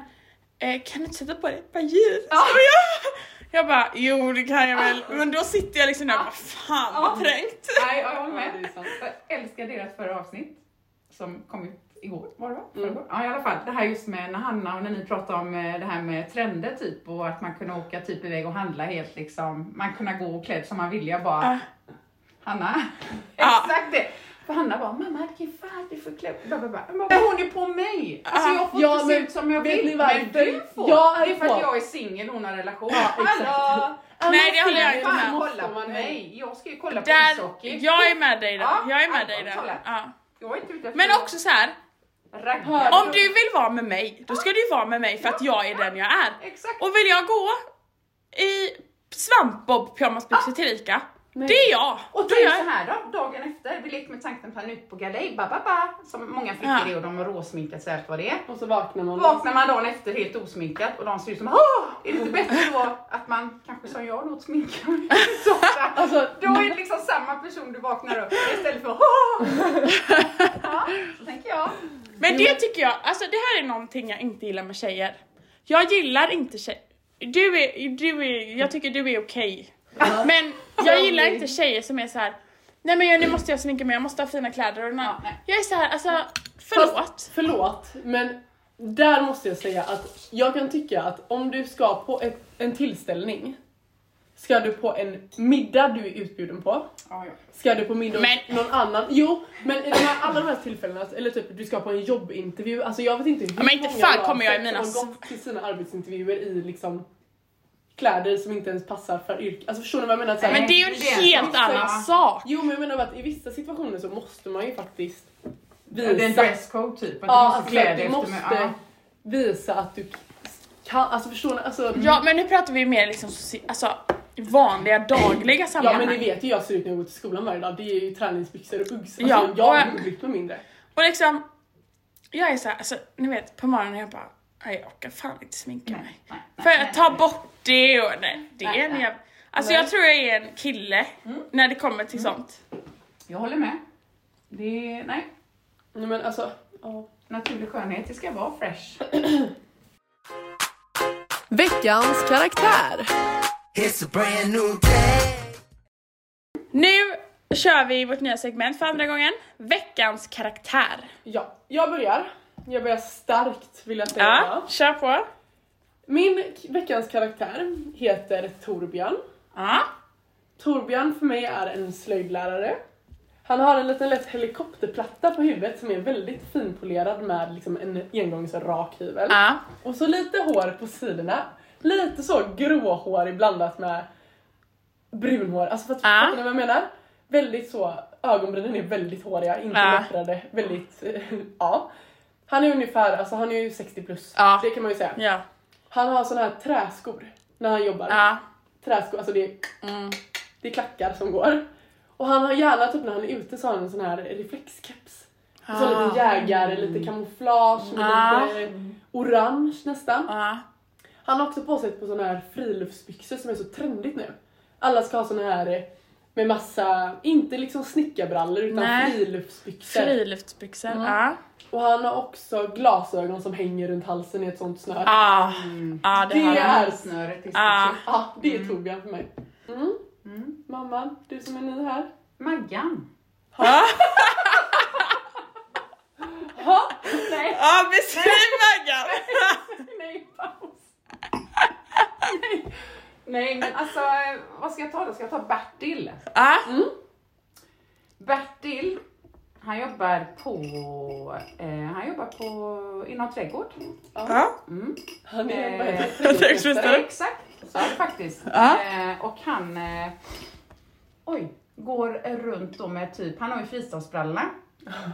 eh, kan du inte sätta på dig ett par jeans? Och jag, jag bara, jo det kan jag väl. Men då sitter jag liksom där och bara, fan vad
Ja.
trängt.
Nej, jag håller
Ja, det
med.
är sant.
Jag älskar deras förra avsnitt som kom ut igår. Var det va?
Mm.
Förrgår? Ja, i alla fall. Det här just med när Hanna och när ni pratade om eh, det här med trender typ och att man kunde åka typ iväg och handla helt liksom. Man kunde gå och klädd som man ville. Jag bara,
Ja.
Hanna.
Ja.
Exakt det. För Hanna bara, mamma det är fan du får klä bla, bla, bla. Jag bara, Hon är på mig! Alltså jag får
Ja,
inte se
men
ut som jag
vet ni
vill.
varför?
Men du får!
Jag är
det är för att
på.
jag är singel och hon har en relation.
Ja, exakt.
Hallå!
Nej, det håller jag inte
Fan,
med om.
kolla på mig! Jag ska ju kolla på
Där,
ishockey.
jag är med dig där.
Ja,
Jag är med dig
allvarligt
där.
talat.
Ja.
Jag är inte ute efter
Men
att
också så här.
ragga.
om du vill vara med mig, då ska du vara med mig för att jag är den jag är.
Exakt.
Och vill jag gå i svampbob pyjamasbyxor till Ica,
Nej.
det är jag.
Och
det
tänk
gör
så
jag.
här då, dagen efter. Vi lekte med tanken på en ut på galej, ba, ba, ba, som många flickor
Ja. Mm.
är och de har råsminkat sig allt vad det är.
Och så vaknar man.
Vaknar man dagen efter helt osminkad och de ser ut som Åh! Är det inte bättre då att man kanske som jag låter sminka mig så ofta?
Alltså,
Då är det liksom samma person du vaknar upp med istället för Åh! Ja, så tänker jag.
Men det tycker jag, alltså det här är någonting jag inte gillar med tjejer. Jag gillar inte tjejer. Du är, du är, jag tycker du är okej. Men jag gillar inte tjejer som är så här. nej men jag, nu måste jag sminka mig, jag måste ha fina kläder och
Ja, nej.
Jag är så här, alltså förlåt.
Förlåt, men där måste jag säga att jag kan tycka att om du ska på ett, en tillställning, ska du på en middag du är utbjuden på,
Ja, ja.
ska du på middag hos
Men-
någon annan, jo, men i de här, alla de här tillfällena, alltså, eller typ du ska på en jobbintervju, alltså jag vet inte hur
Ja, men inte
många
fan
jag har
kommer jag i
sett
mina
som har gått till sina arbetsintervjuer i liksom kläder som inte ens passar för yrke, alltså förstår ni vad jag menar? Så här-
Men det är ju
Det är
en
en
helt
sak.
annan sak.
Jo men jag menar bara att i vissa situationer så måste man ju faktiskt
Det är en
visa
dresscode typ.
Ja,
Att du måste
alltså,
klä dig
du
efter
måste
med- ja.
visa att du kan, alltså förstår ni? Alltså,
Ja men nu pratar vi mer liksom soci- alltså, vanliga dagliga
ja
sammanhang.
men ni vet ju hur jag ser ut när jag går till skolan varje dag, det är ju träningsbyxor och Uggs. Alltså,
Ja,
ja, jag
och-
har blivit med mindre.
Och liksom, jag är så här, alltså ni vet på morgonen jag bara, nej jag orkar fan inte sminka mig.
nej,
För
nej,
jag tar bort det och nej, det
Nej,
är en
nej.
jävla... Alltså jag tror jag är en kille när det kommer till sånt.
Jag håller med. Det är, nej,
Nej, men alltså, ja.
naturlig skönhet, det ska vara fresh.
Veckans karaktär!
It's a brand new day.
Nu kör vi vårt nya segment för andra gången, veckans karaktär.
Ja, jag börjar. Jag börjar starkt vill jag säga.
Ja, kör på.
Min k- veckans karaktär heter Torbjörn.
Ja.
Torbjörn för mig är en slöjdlärare. Han har en liten lätt helikopterplatta på huvudet som är väldigt finpolerad med liksom en engångsrak hyvel.
Ja.
Och så lite hår på sidorna. Lite så gråhårig blandat med brunhår. Alltså för att,
Ja.
fattar ni vad jag menar? Väldigt så, ögonbrynen är väldigt håriga, inte
Ja.
lättrade. Väldigt, ja. Han är ungefär, alltså han är ju 60 plus.
Ja.
Det kan man ju säga.
Ja.
Han har såna här träskor när han jobbar.
Ja.
Träskor, alltså det är,
Mm.
det är klackar som går. Och han har gärna typ när han är ute så har han en sån här reflexkeps. Ah. Så
Ah.
lite jägare, lite kamouflage, med
Ah.
lite orange nästan.
Ja.
Han har också på sig ett par såna här friluftsbyxor som är så trendigt nu. Alla ska ha såna här eh, med massa, inte liksom snickarbrallor utan
Nej.
friluftsbyxor.
Friluftsbyxor.
Mm.
Ja.
Och han har också glasögon som hänger runt halsen i ett sånt snöre.
Ja.
Mm.
Ja, det
Det
har
är-
jag.
Halsnöret är
Ah.
ah.
Ja, det är Torbjörn för mig. Mm.
Mm.
Mamma, du som är ny här.
Maggan.
Ja,
Nej,
Ja, beskriv Maggan!
nej, paus. Nej. Nej, men alltså eh,
Mm.
vad ska jag ta då? Ska jag ta Bertil?
Ja.
Bertil, Han jobbar på, eh, han jobbar på, inom trädgård.
Ja.
Mm.
Han
Eh,
är, vad heter
Trädgårdsmästare.
Exakt, så är det faktiskt.
Ja.
Eh, och han, eh, oj, går runt då med typ, han har ju fristadsbrallorna.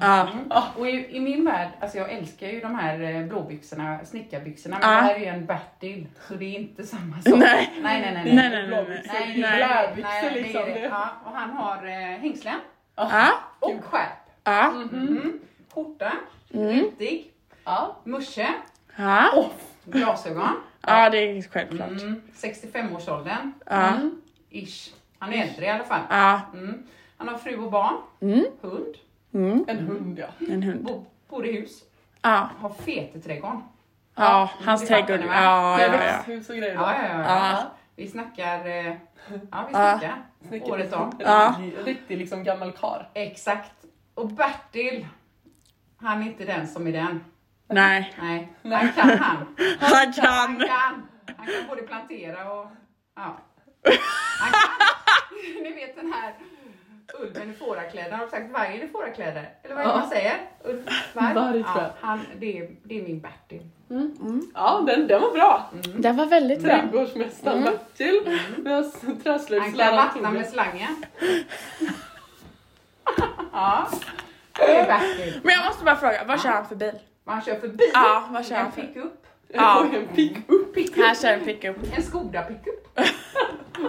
Ja.
Ah.
Och i, i min värld, alltså jag älskar ju de här eh, blåbyxorna, snickarbyxorna, men
Ja.
det här är ju en Bertil, så det är inte samma sak.
Nej.
nej, nej, nej.
Nej, nej, nej, nej.
Nej, det är
Nej.
blöd-
Blödbyxor
nej, det är
liksom.
det. Ja, och han har eh, hängslen
Ah.
Ja.
och skärp.
Ja.
Mhm. Skjorta,
Mm.
rutig,
Ja.
musche,
Ah.
Ja.
glasögon.
Ja, det är självklart.
Mm. 65-årsåldern,
Ja.
ish. Han är äldre i alla fall.
Ah,
Ja.
Mm. Han har fru och barn,
Mm.
hund,
Mm.
En hund ja.
En hund.
bo, bor i hus,
Ja.
Ah.
har feteträdgården.
Ja, hans
det fattar
trädgård.
ni, va?
Ja,
Med
ja, ja.
växthus och grejer.
Ja, ja, ja.
Ja.
Vi snackar, eh, ja vi
Ja.
snackar
Snickare. liksom.
året om.
Ja.
En Riktig liksom gammal kar.
Exakt. Och Bertil, han är inte den som är den.
Nej,
Nej, han kan han.
han
Han
kan.
kan. Han kan både plantera och... Ja. Han kan. Ni vet den här ulven i fårakläder. Har de sagt vargen i fårakläder? Eller vad är det
Ja.
man säger? Ulv,
Varg,
varg?
tror jag.
Ja, han, det, är, det är min Bertil.
Ja, den, den var bra.
Den var väldigt bra.
Trädgårdsmästaren Bertil. Med
Mm. Han kan
träslöjdsläraren
vattna med
Torbjörn.
slangen. Ja, det är Bertil.
Men jag måste bara fråga, vad kör han för bil?
Man kör förbi
Ja, vad kör
en
han för?
pickup.
Ja,
Och en pick-up.
han kör en pickup.
En Skoda pickup.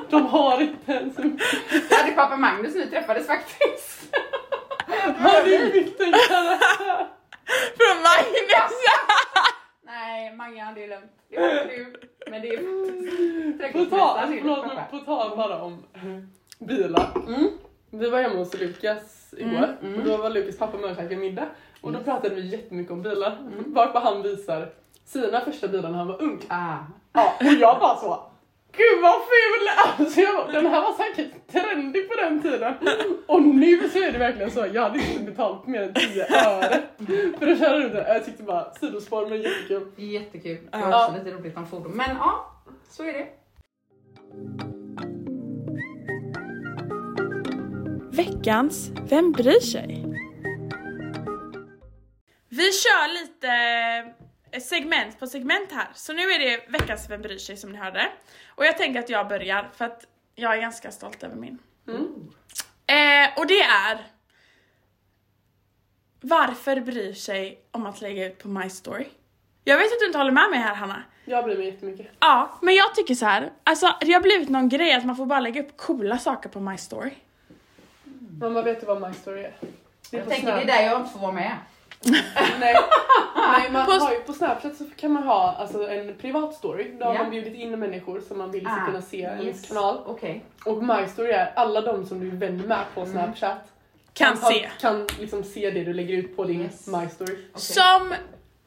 De har inte ens en
Det hade pappa Magnus nu träffades faktiskt.
Har du byggt en karaktär?
Från Magnus!
Nej, Maggan det är lugnt. Det var du. Men det är faktiskt
På tal,
trädgårdsmästaren
förlåt,
pappa.
på tal bara om bilar. Vi var hemma hos Lukas igår och då var Lukas pappa med och käkade middag. Och då pratade vi jättemycket om bilar. Varpå han visar sina första bilar när han var ung.
Ah.
Ja, och jag bara så. Gud vad ful! Alltså jag, bara, den här var säkert trendig på den tiden. Och nu så är det verkligen så. Jag hade inte betalt mer än 10 öre för att köra runt den. Jag tyckte bara sidospår men jättekul.
Det är jättekul. Det var också lite roligt om fordon. Men ja, så är det.
Veckans Vem bryr sig? Vi kör lite eh, segment på segment här. Så nu är det veckans Vem bryr sig som ni hörde. Och jag tänker att jag börjar för att jag är ganska stolt över min. Eh, och det är Varför bryr sig om att lägga ut på My Story? Jag vet att du inte håller med mig här Hanna.
Jag bryr mig jättemycket.
Ja, men jag tycker så här. Alltså det har blivit någon grej att man får bara lägga upp coola saker på My Story.
Mamma vet du Mm. vad My Story är? Det är
Jag
på
tänker det är
Snapchat.
där jag inte får vara med.
Nej. Nej, man
På-
har ju, på Snapchat så kan man ha alltså, en privat story. Då har
Ja.
man bjudit in människor som man vill ska
Ah,
kunna se i ens
yes.
kanal.
Okej.
Och My Story är alla de som du är vän med på
Mm.
Snapchat.
Kan
har-
se.
Kan liksom se det du lägger ut på din
Yes.
My Story.
Som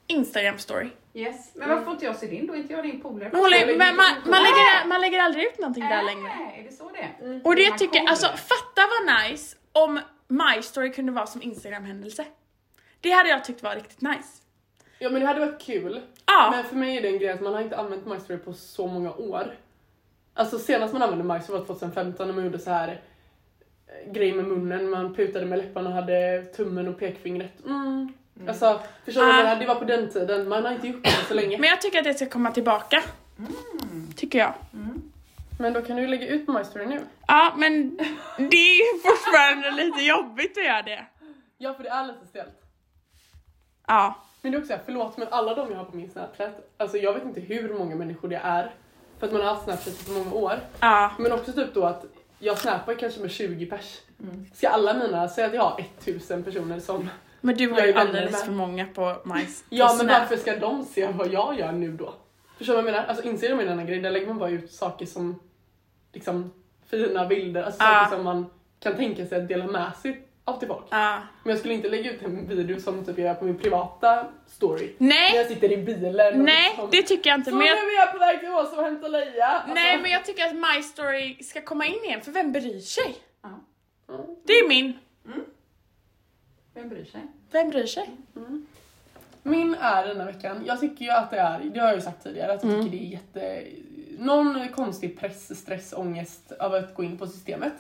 Instagram story.
Yes. Men varför får inte jag se din då? Är inte jag din polare?
Men hon lägger, men man, man, lägger,
Nej.
man lägger aldrig ut någonting där
Äh.
Nej,
längre.
Är det så det är?
Och
Är
det
man
tycker
cool?
alltså fatta vad nice om My story kunde vara som Instagram-händelse. Det hade jag tyckt var riktigt nice.
Ja men det hade varit kul.
Ja,
Men för mig är det en grej att man har inte använt My Story på så många år. Alltså senast man använde My Story var 2015 när man gjorde så här eh, grej med munnen, man putade med läpparna och hade tummen och pekfingret. Mm. Alltså, förstår du vad jag menar? Det var på den tiden, man har inte gjort det så länge.
men jag tycker att det ska komma tillbaka.
Mm.
Tycker jag.
Men då kan du ju lägga ut på My Story nu.
Ja, men det är ju fortfarande lite jobbigt att göra det.
Ja, för det är lite stelt.
Ja,
Men det är också så här, förlåt men alla de jag har på min Snapchat, alltså jag vet inte hur många människor det är. För att man har haft Snapchat i så många år.
ja,
Men också typ då att jag snappar kanske med 20 pers.
Mm.
Ska alla mina, säga att jag har 1000 personer som...
men du har
Jag är
ju
vänner
alldeles
med.
för många på My på
Ja men
Snap.
varför ska de se vad jag gör nu då? Förstår du vad jag menar? Alltså inser de en annan grej, där lägger man bara ut saker som liksom fina bilder, alltså
Ja.
saker som man kan tänka sig att dela med sig av till folk.
Ja.
Men jag skulle inte lägga ut en video som typ jag gör på min privata story. När jag
Nej,
sitter i bilen och
nej,
liksom-
det tycker jag inte.
Så
Men jag,
nu är jag på väg till Åsa och hämtar Leia. Alltså,
Nej men jag tycker att My Story ska komma in igen, för vem bryr sig?
Ja.
Mm.
Det är min.
Vem bryr sig?
Vem bryr sig?
Min är denna veckan, jag tycker ju att det är, det har jag ju sagt tidigare, att jag
Mm.
tycker det är
Mm.
jätte... Någon konstig press, stress, ångest av att gå in på systemet.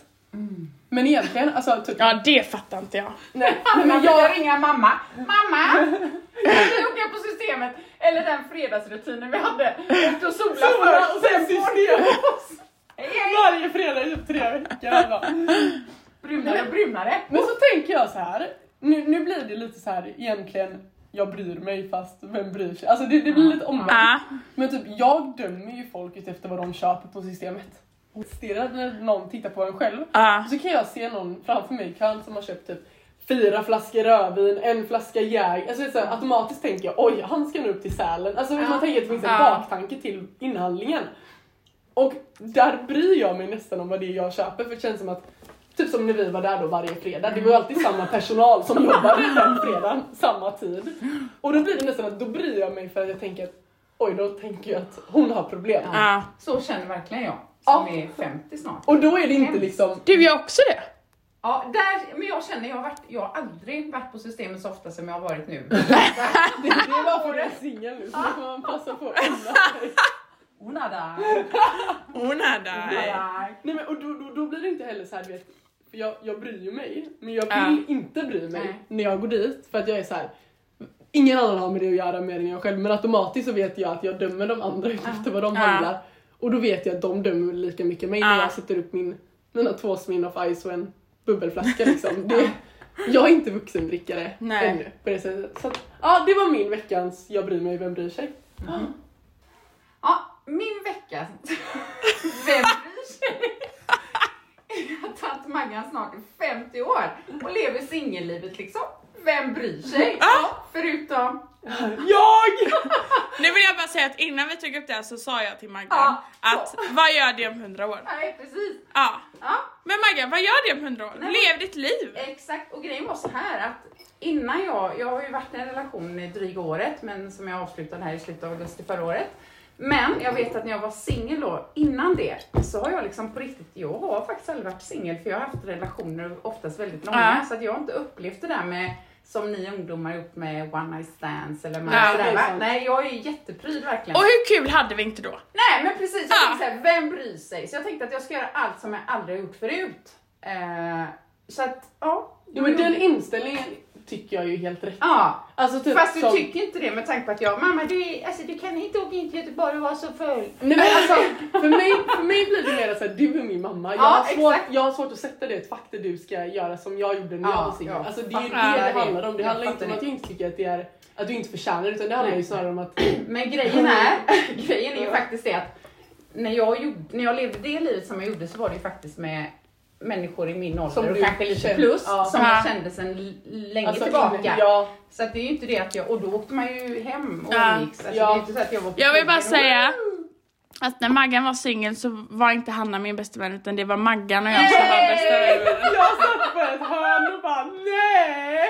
Men egentligen, alltså typ...
Ja, det fattar inte jag.
Nej,
Men
nej, men
man
jag...
jag ringa mamma. Mamma! Jag tog jag på systemet, eller den fredagsrutinen vi hade. Åkte och solade först och sen
system
Hej,
varje fredag i typ tre veckor. Jag bara,
Brunare och brunare.
Men så tänker jag så här. Nu, nu blir det lite så här egentligen, jag bryr mig fast vem bryr sig? Alltså det, det blir lite omvänt.
Mm. Ja.
Men typ jag dömer ju folk utefter vad de köper på systemet. Och stirrar när någon tittar på en själv.
Ja.
Så kan jag se någon framför mig i kön som har köpt typ fyra flaskor rödvin, en flaska jäger. Alltså det är så här, automatiskt tänker jag oj han ska nu upp till Sälen. Alltså man tänker att det finns en
Mm. Ja.
baktanke till inhandlingen. Och där bryr jag mig nästan om vad det är jag köper för det känns som att Typ som när vi var där då varje fredag, det var ju alltid samma personal som
Mm.
jobbade den fredagen, samma tid. Och då blir det nästan att då bryr jag mig för att jag tänker att oj då tänker jag att hon har problem.
Ja.
Så känner verkligen jag, som är 50 snart.
Och då är det inte liksom,
Du, jag också det.
Ja, där, men jag känner, jag har, varit, jag har aldrig varit på systemet så ofta som jag har varit nu.
det är bara för att du är singel nu så då får man passa på att unna sig.
Onada!
Hon är där.
Nej men och då, då, då blir det inte heller så här, du vet, för jag, jag bryr ju mig, men jag
Ja.
vill inte bry mig
Nej.
när jag går dit för att jag är så här. Ingen annan har med det att göra mer än jag själv men automatiskt så vet jag att jag dömer de andra efter vad de
Ja.
handlar och då vet jag att de dömer lika mycket mig när
Ja.
jag sätter upp min, mina två Smin of Ice och en bubbelflaska liksom. Det, jag är inte vuxendrickare
Nej.
ännu på det sättet. Så att, ja, det var min veckans jag bryr mig, vem bryr sig?
Ja, min vecka. Vem bryr sig? Jag har tagit Maggan snart i 50 år och lever singellivet liksom. Vem bryr sig? Ja, förutom...
Jag!
Nu vill jag bara säga att innan vi tog upp det här så sa jag till Maggan
Ja.
att vad gör det om 100 år?
Nej, precis.
Ja.
Ja,
Men Maggan, vad gör det om 100 år?
Nej.
Lev ditt liv.
Exakt, och grejen var så här att innan jag, jag har ju varit i en relation i dryga året, men som jag avslutade här i slutet av augusti förra året. Men jag vet att när jag var singel då, innan det, så har jag liksom på riktigt, jag har faktiskt aldrig varit singel för jag har haft relationer oftast väldigt långa,
Ja.
så att jag har inte upplevt det där med som ni ungdomar har gjort med one night stands eller med
Ja,
det
sådär
är
va?
sant.
Nej, jag är ju jättepryd verkligen.
Och hur kul hade vi inte då?
Nej men precis, jag
Ja.
tänkte såhär, vem bryr sig? Så jag tänkte att jag ska göra allt som jag aldrig har gjort förut. Eh, så att, ja.
Ja, men den inställningen tycker jag är ju helt rätt.
Ja,
Alltså typ
Fast du
som-
tycker inte det med tanke på att jag, mamma du, alltså, du kan inte åka in till Göteborg och vara så full.
Nej, men alltså, för, mig, för mig blir det mer såhär, du är min mamma. Jag,
Ja,
har svårt,
exakt.
jag har svårt att sätta det i ett fack där du ska göra som jag gjorde när
Ja,
jag var singel.
ja.
Alltså, det är ju
Fattar
det
det.
det handlar om. Det
Jag
handlar inte
fattar
om
det.
att du inte tycker att, det är, att du inte förtjänar utan det handlar ju snarare om att
Men grejen är, grejen är ju faktiskt det att när jag, gjorde, när jag levde det livet som jag gjorde så var det ju faktiskt med människor i min ålder
Som
och
du
kanske lite
kände-
plus
ja.
som jag kände sedan l- länge
alltså,
tillbaka.
Ja,
Så att det är ju inte det att jag, och då åkte man ju hem och
Ja.
umgicks. Alltså,
Ja.
Det är inte så att jag var på
Jag vill bara
krogen och-
säga att när Maggan var singel så var inte Hanna min bästa vän utan det var Maggan och jag som var bästa vänner.
jag satt på ett hörn och bara nej!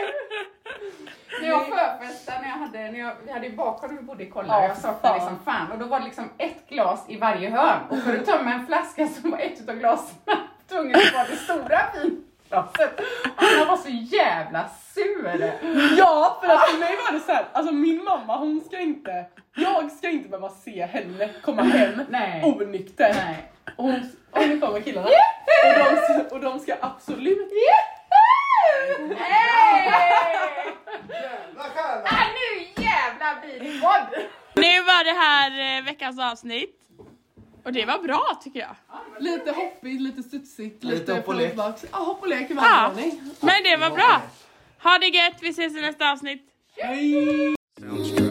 När jag förfestade, när jag hade, när jag, vi hade ju bakom när vi bodde i Kollar,
Ja,
jag saknade
fan.
liksom fan. Och då var det liksom ett glas i varje hörn. Och för att tömma en flaska så var ett utav glasen tvungen att vara det stora vinglaset. Och han var så jävla sur.
Ja, för att för mig var det så här, alltså min mamma hon ska inte, jag ska inte behöva se henne komma hem
Nej.
Oh. onykter.
Nej.
Och hon, och nu kommer killarna. Och de, ska- och de ska absolut
Hey! Ah, nu jävlar blir det podd!
Nu var det här eh, veckans avsnitt. Och det var bra tycker jag.
Lite hoppigt, lite studsigt,
Lite
lite
hopp och lek.
fotbollsbaks. Ja, hopp och lek i varje
Ja,
ordning.
men det var bra. Ha det gött, vi ses i nästa avsnitt.
Sounds true.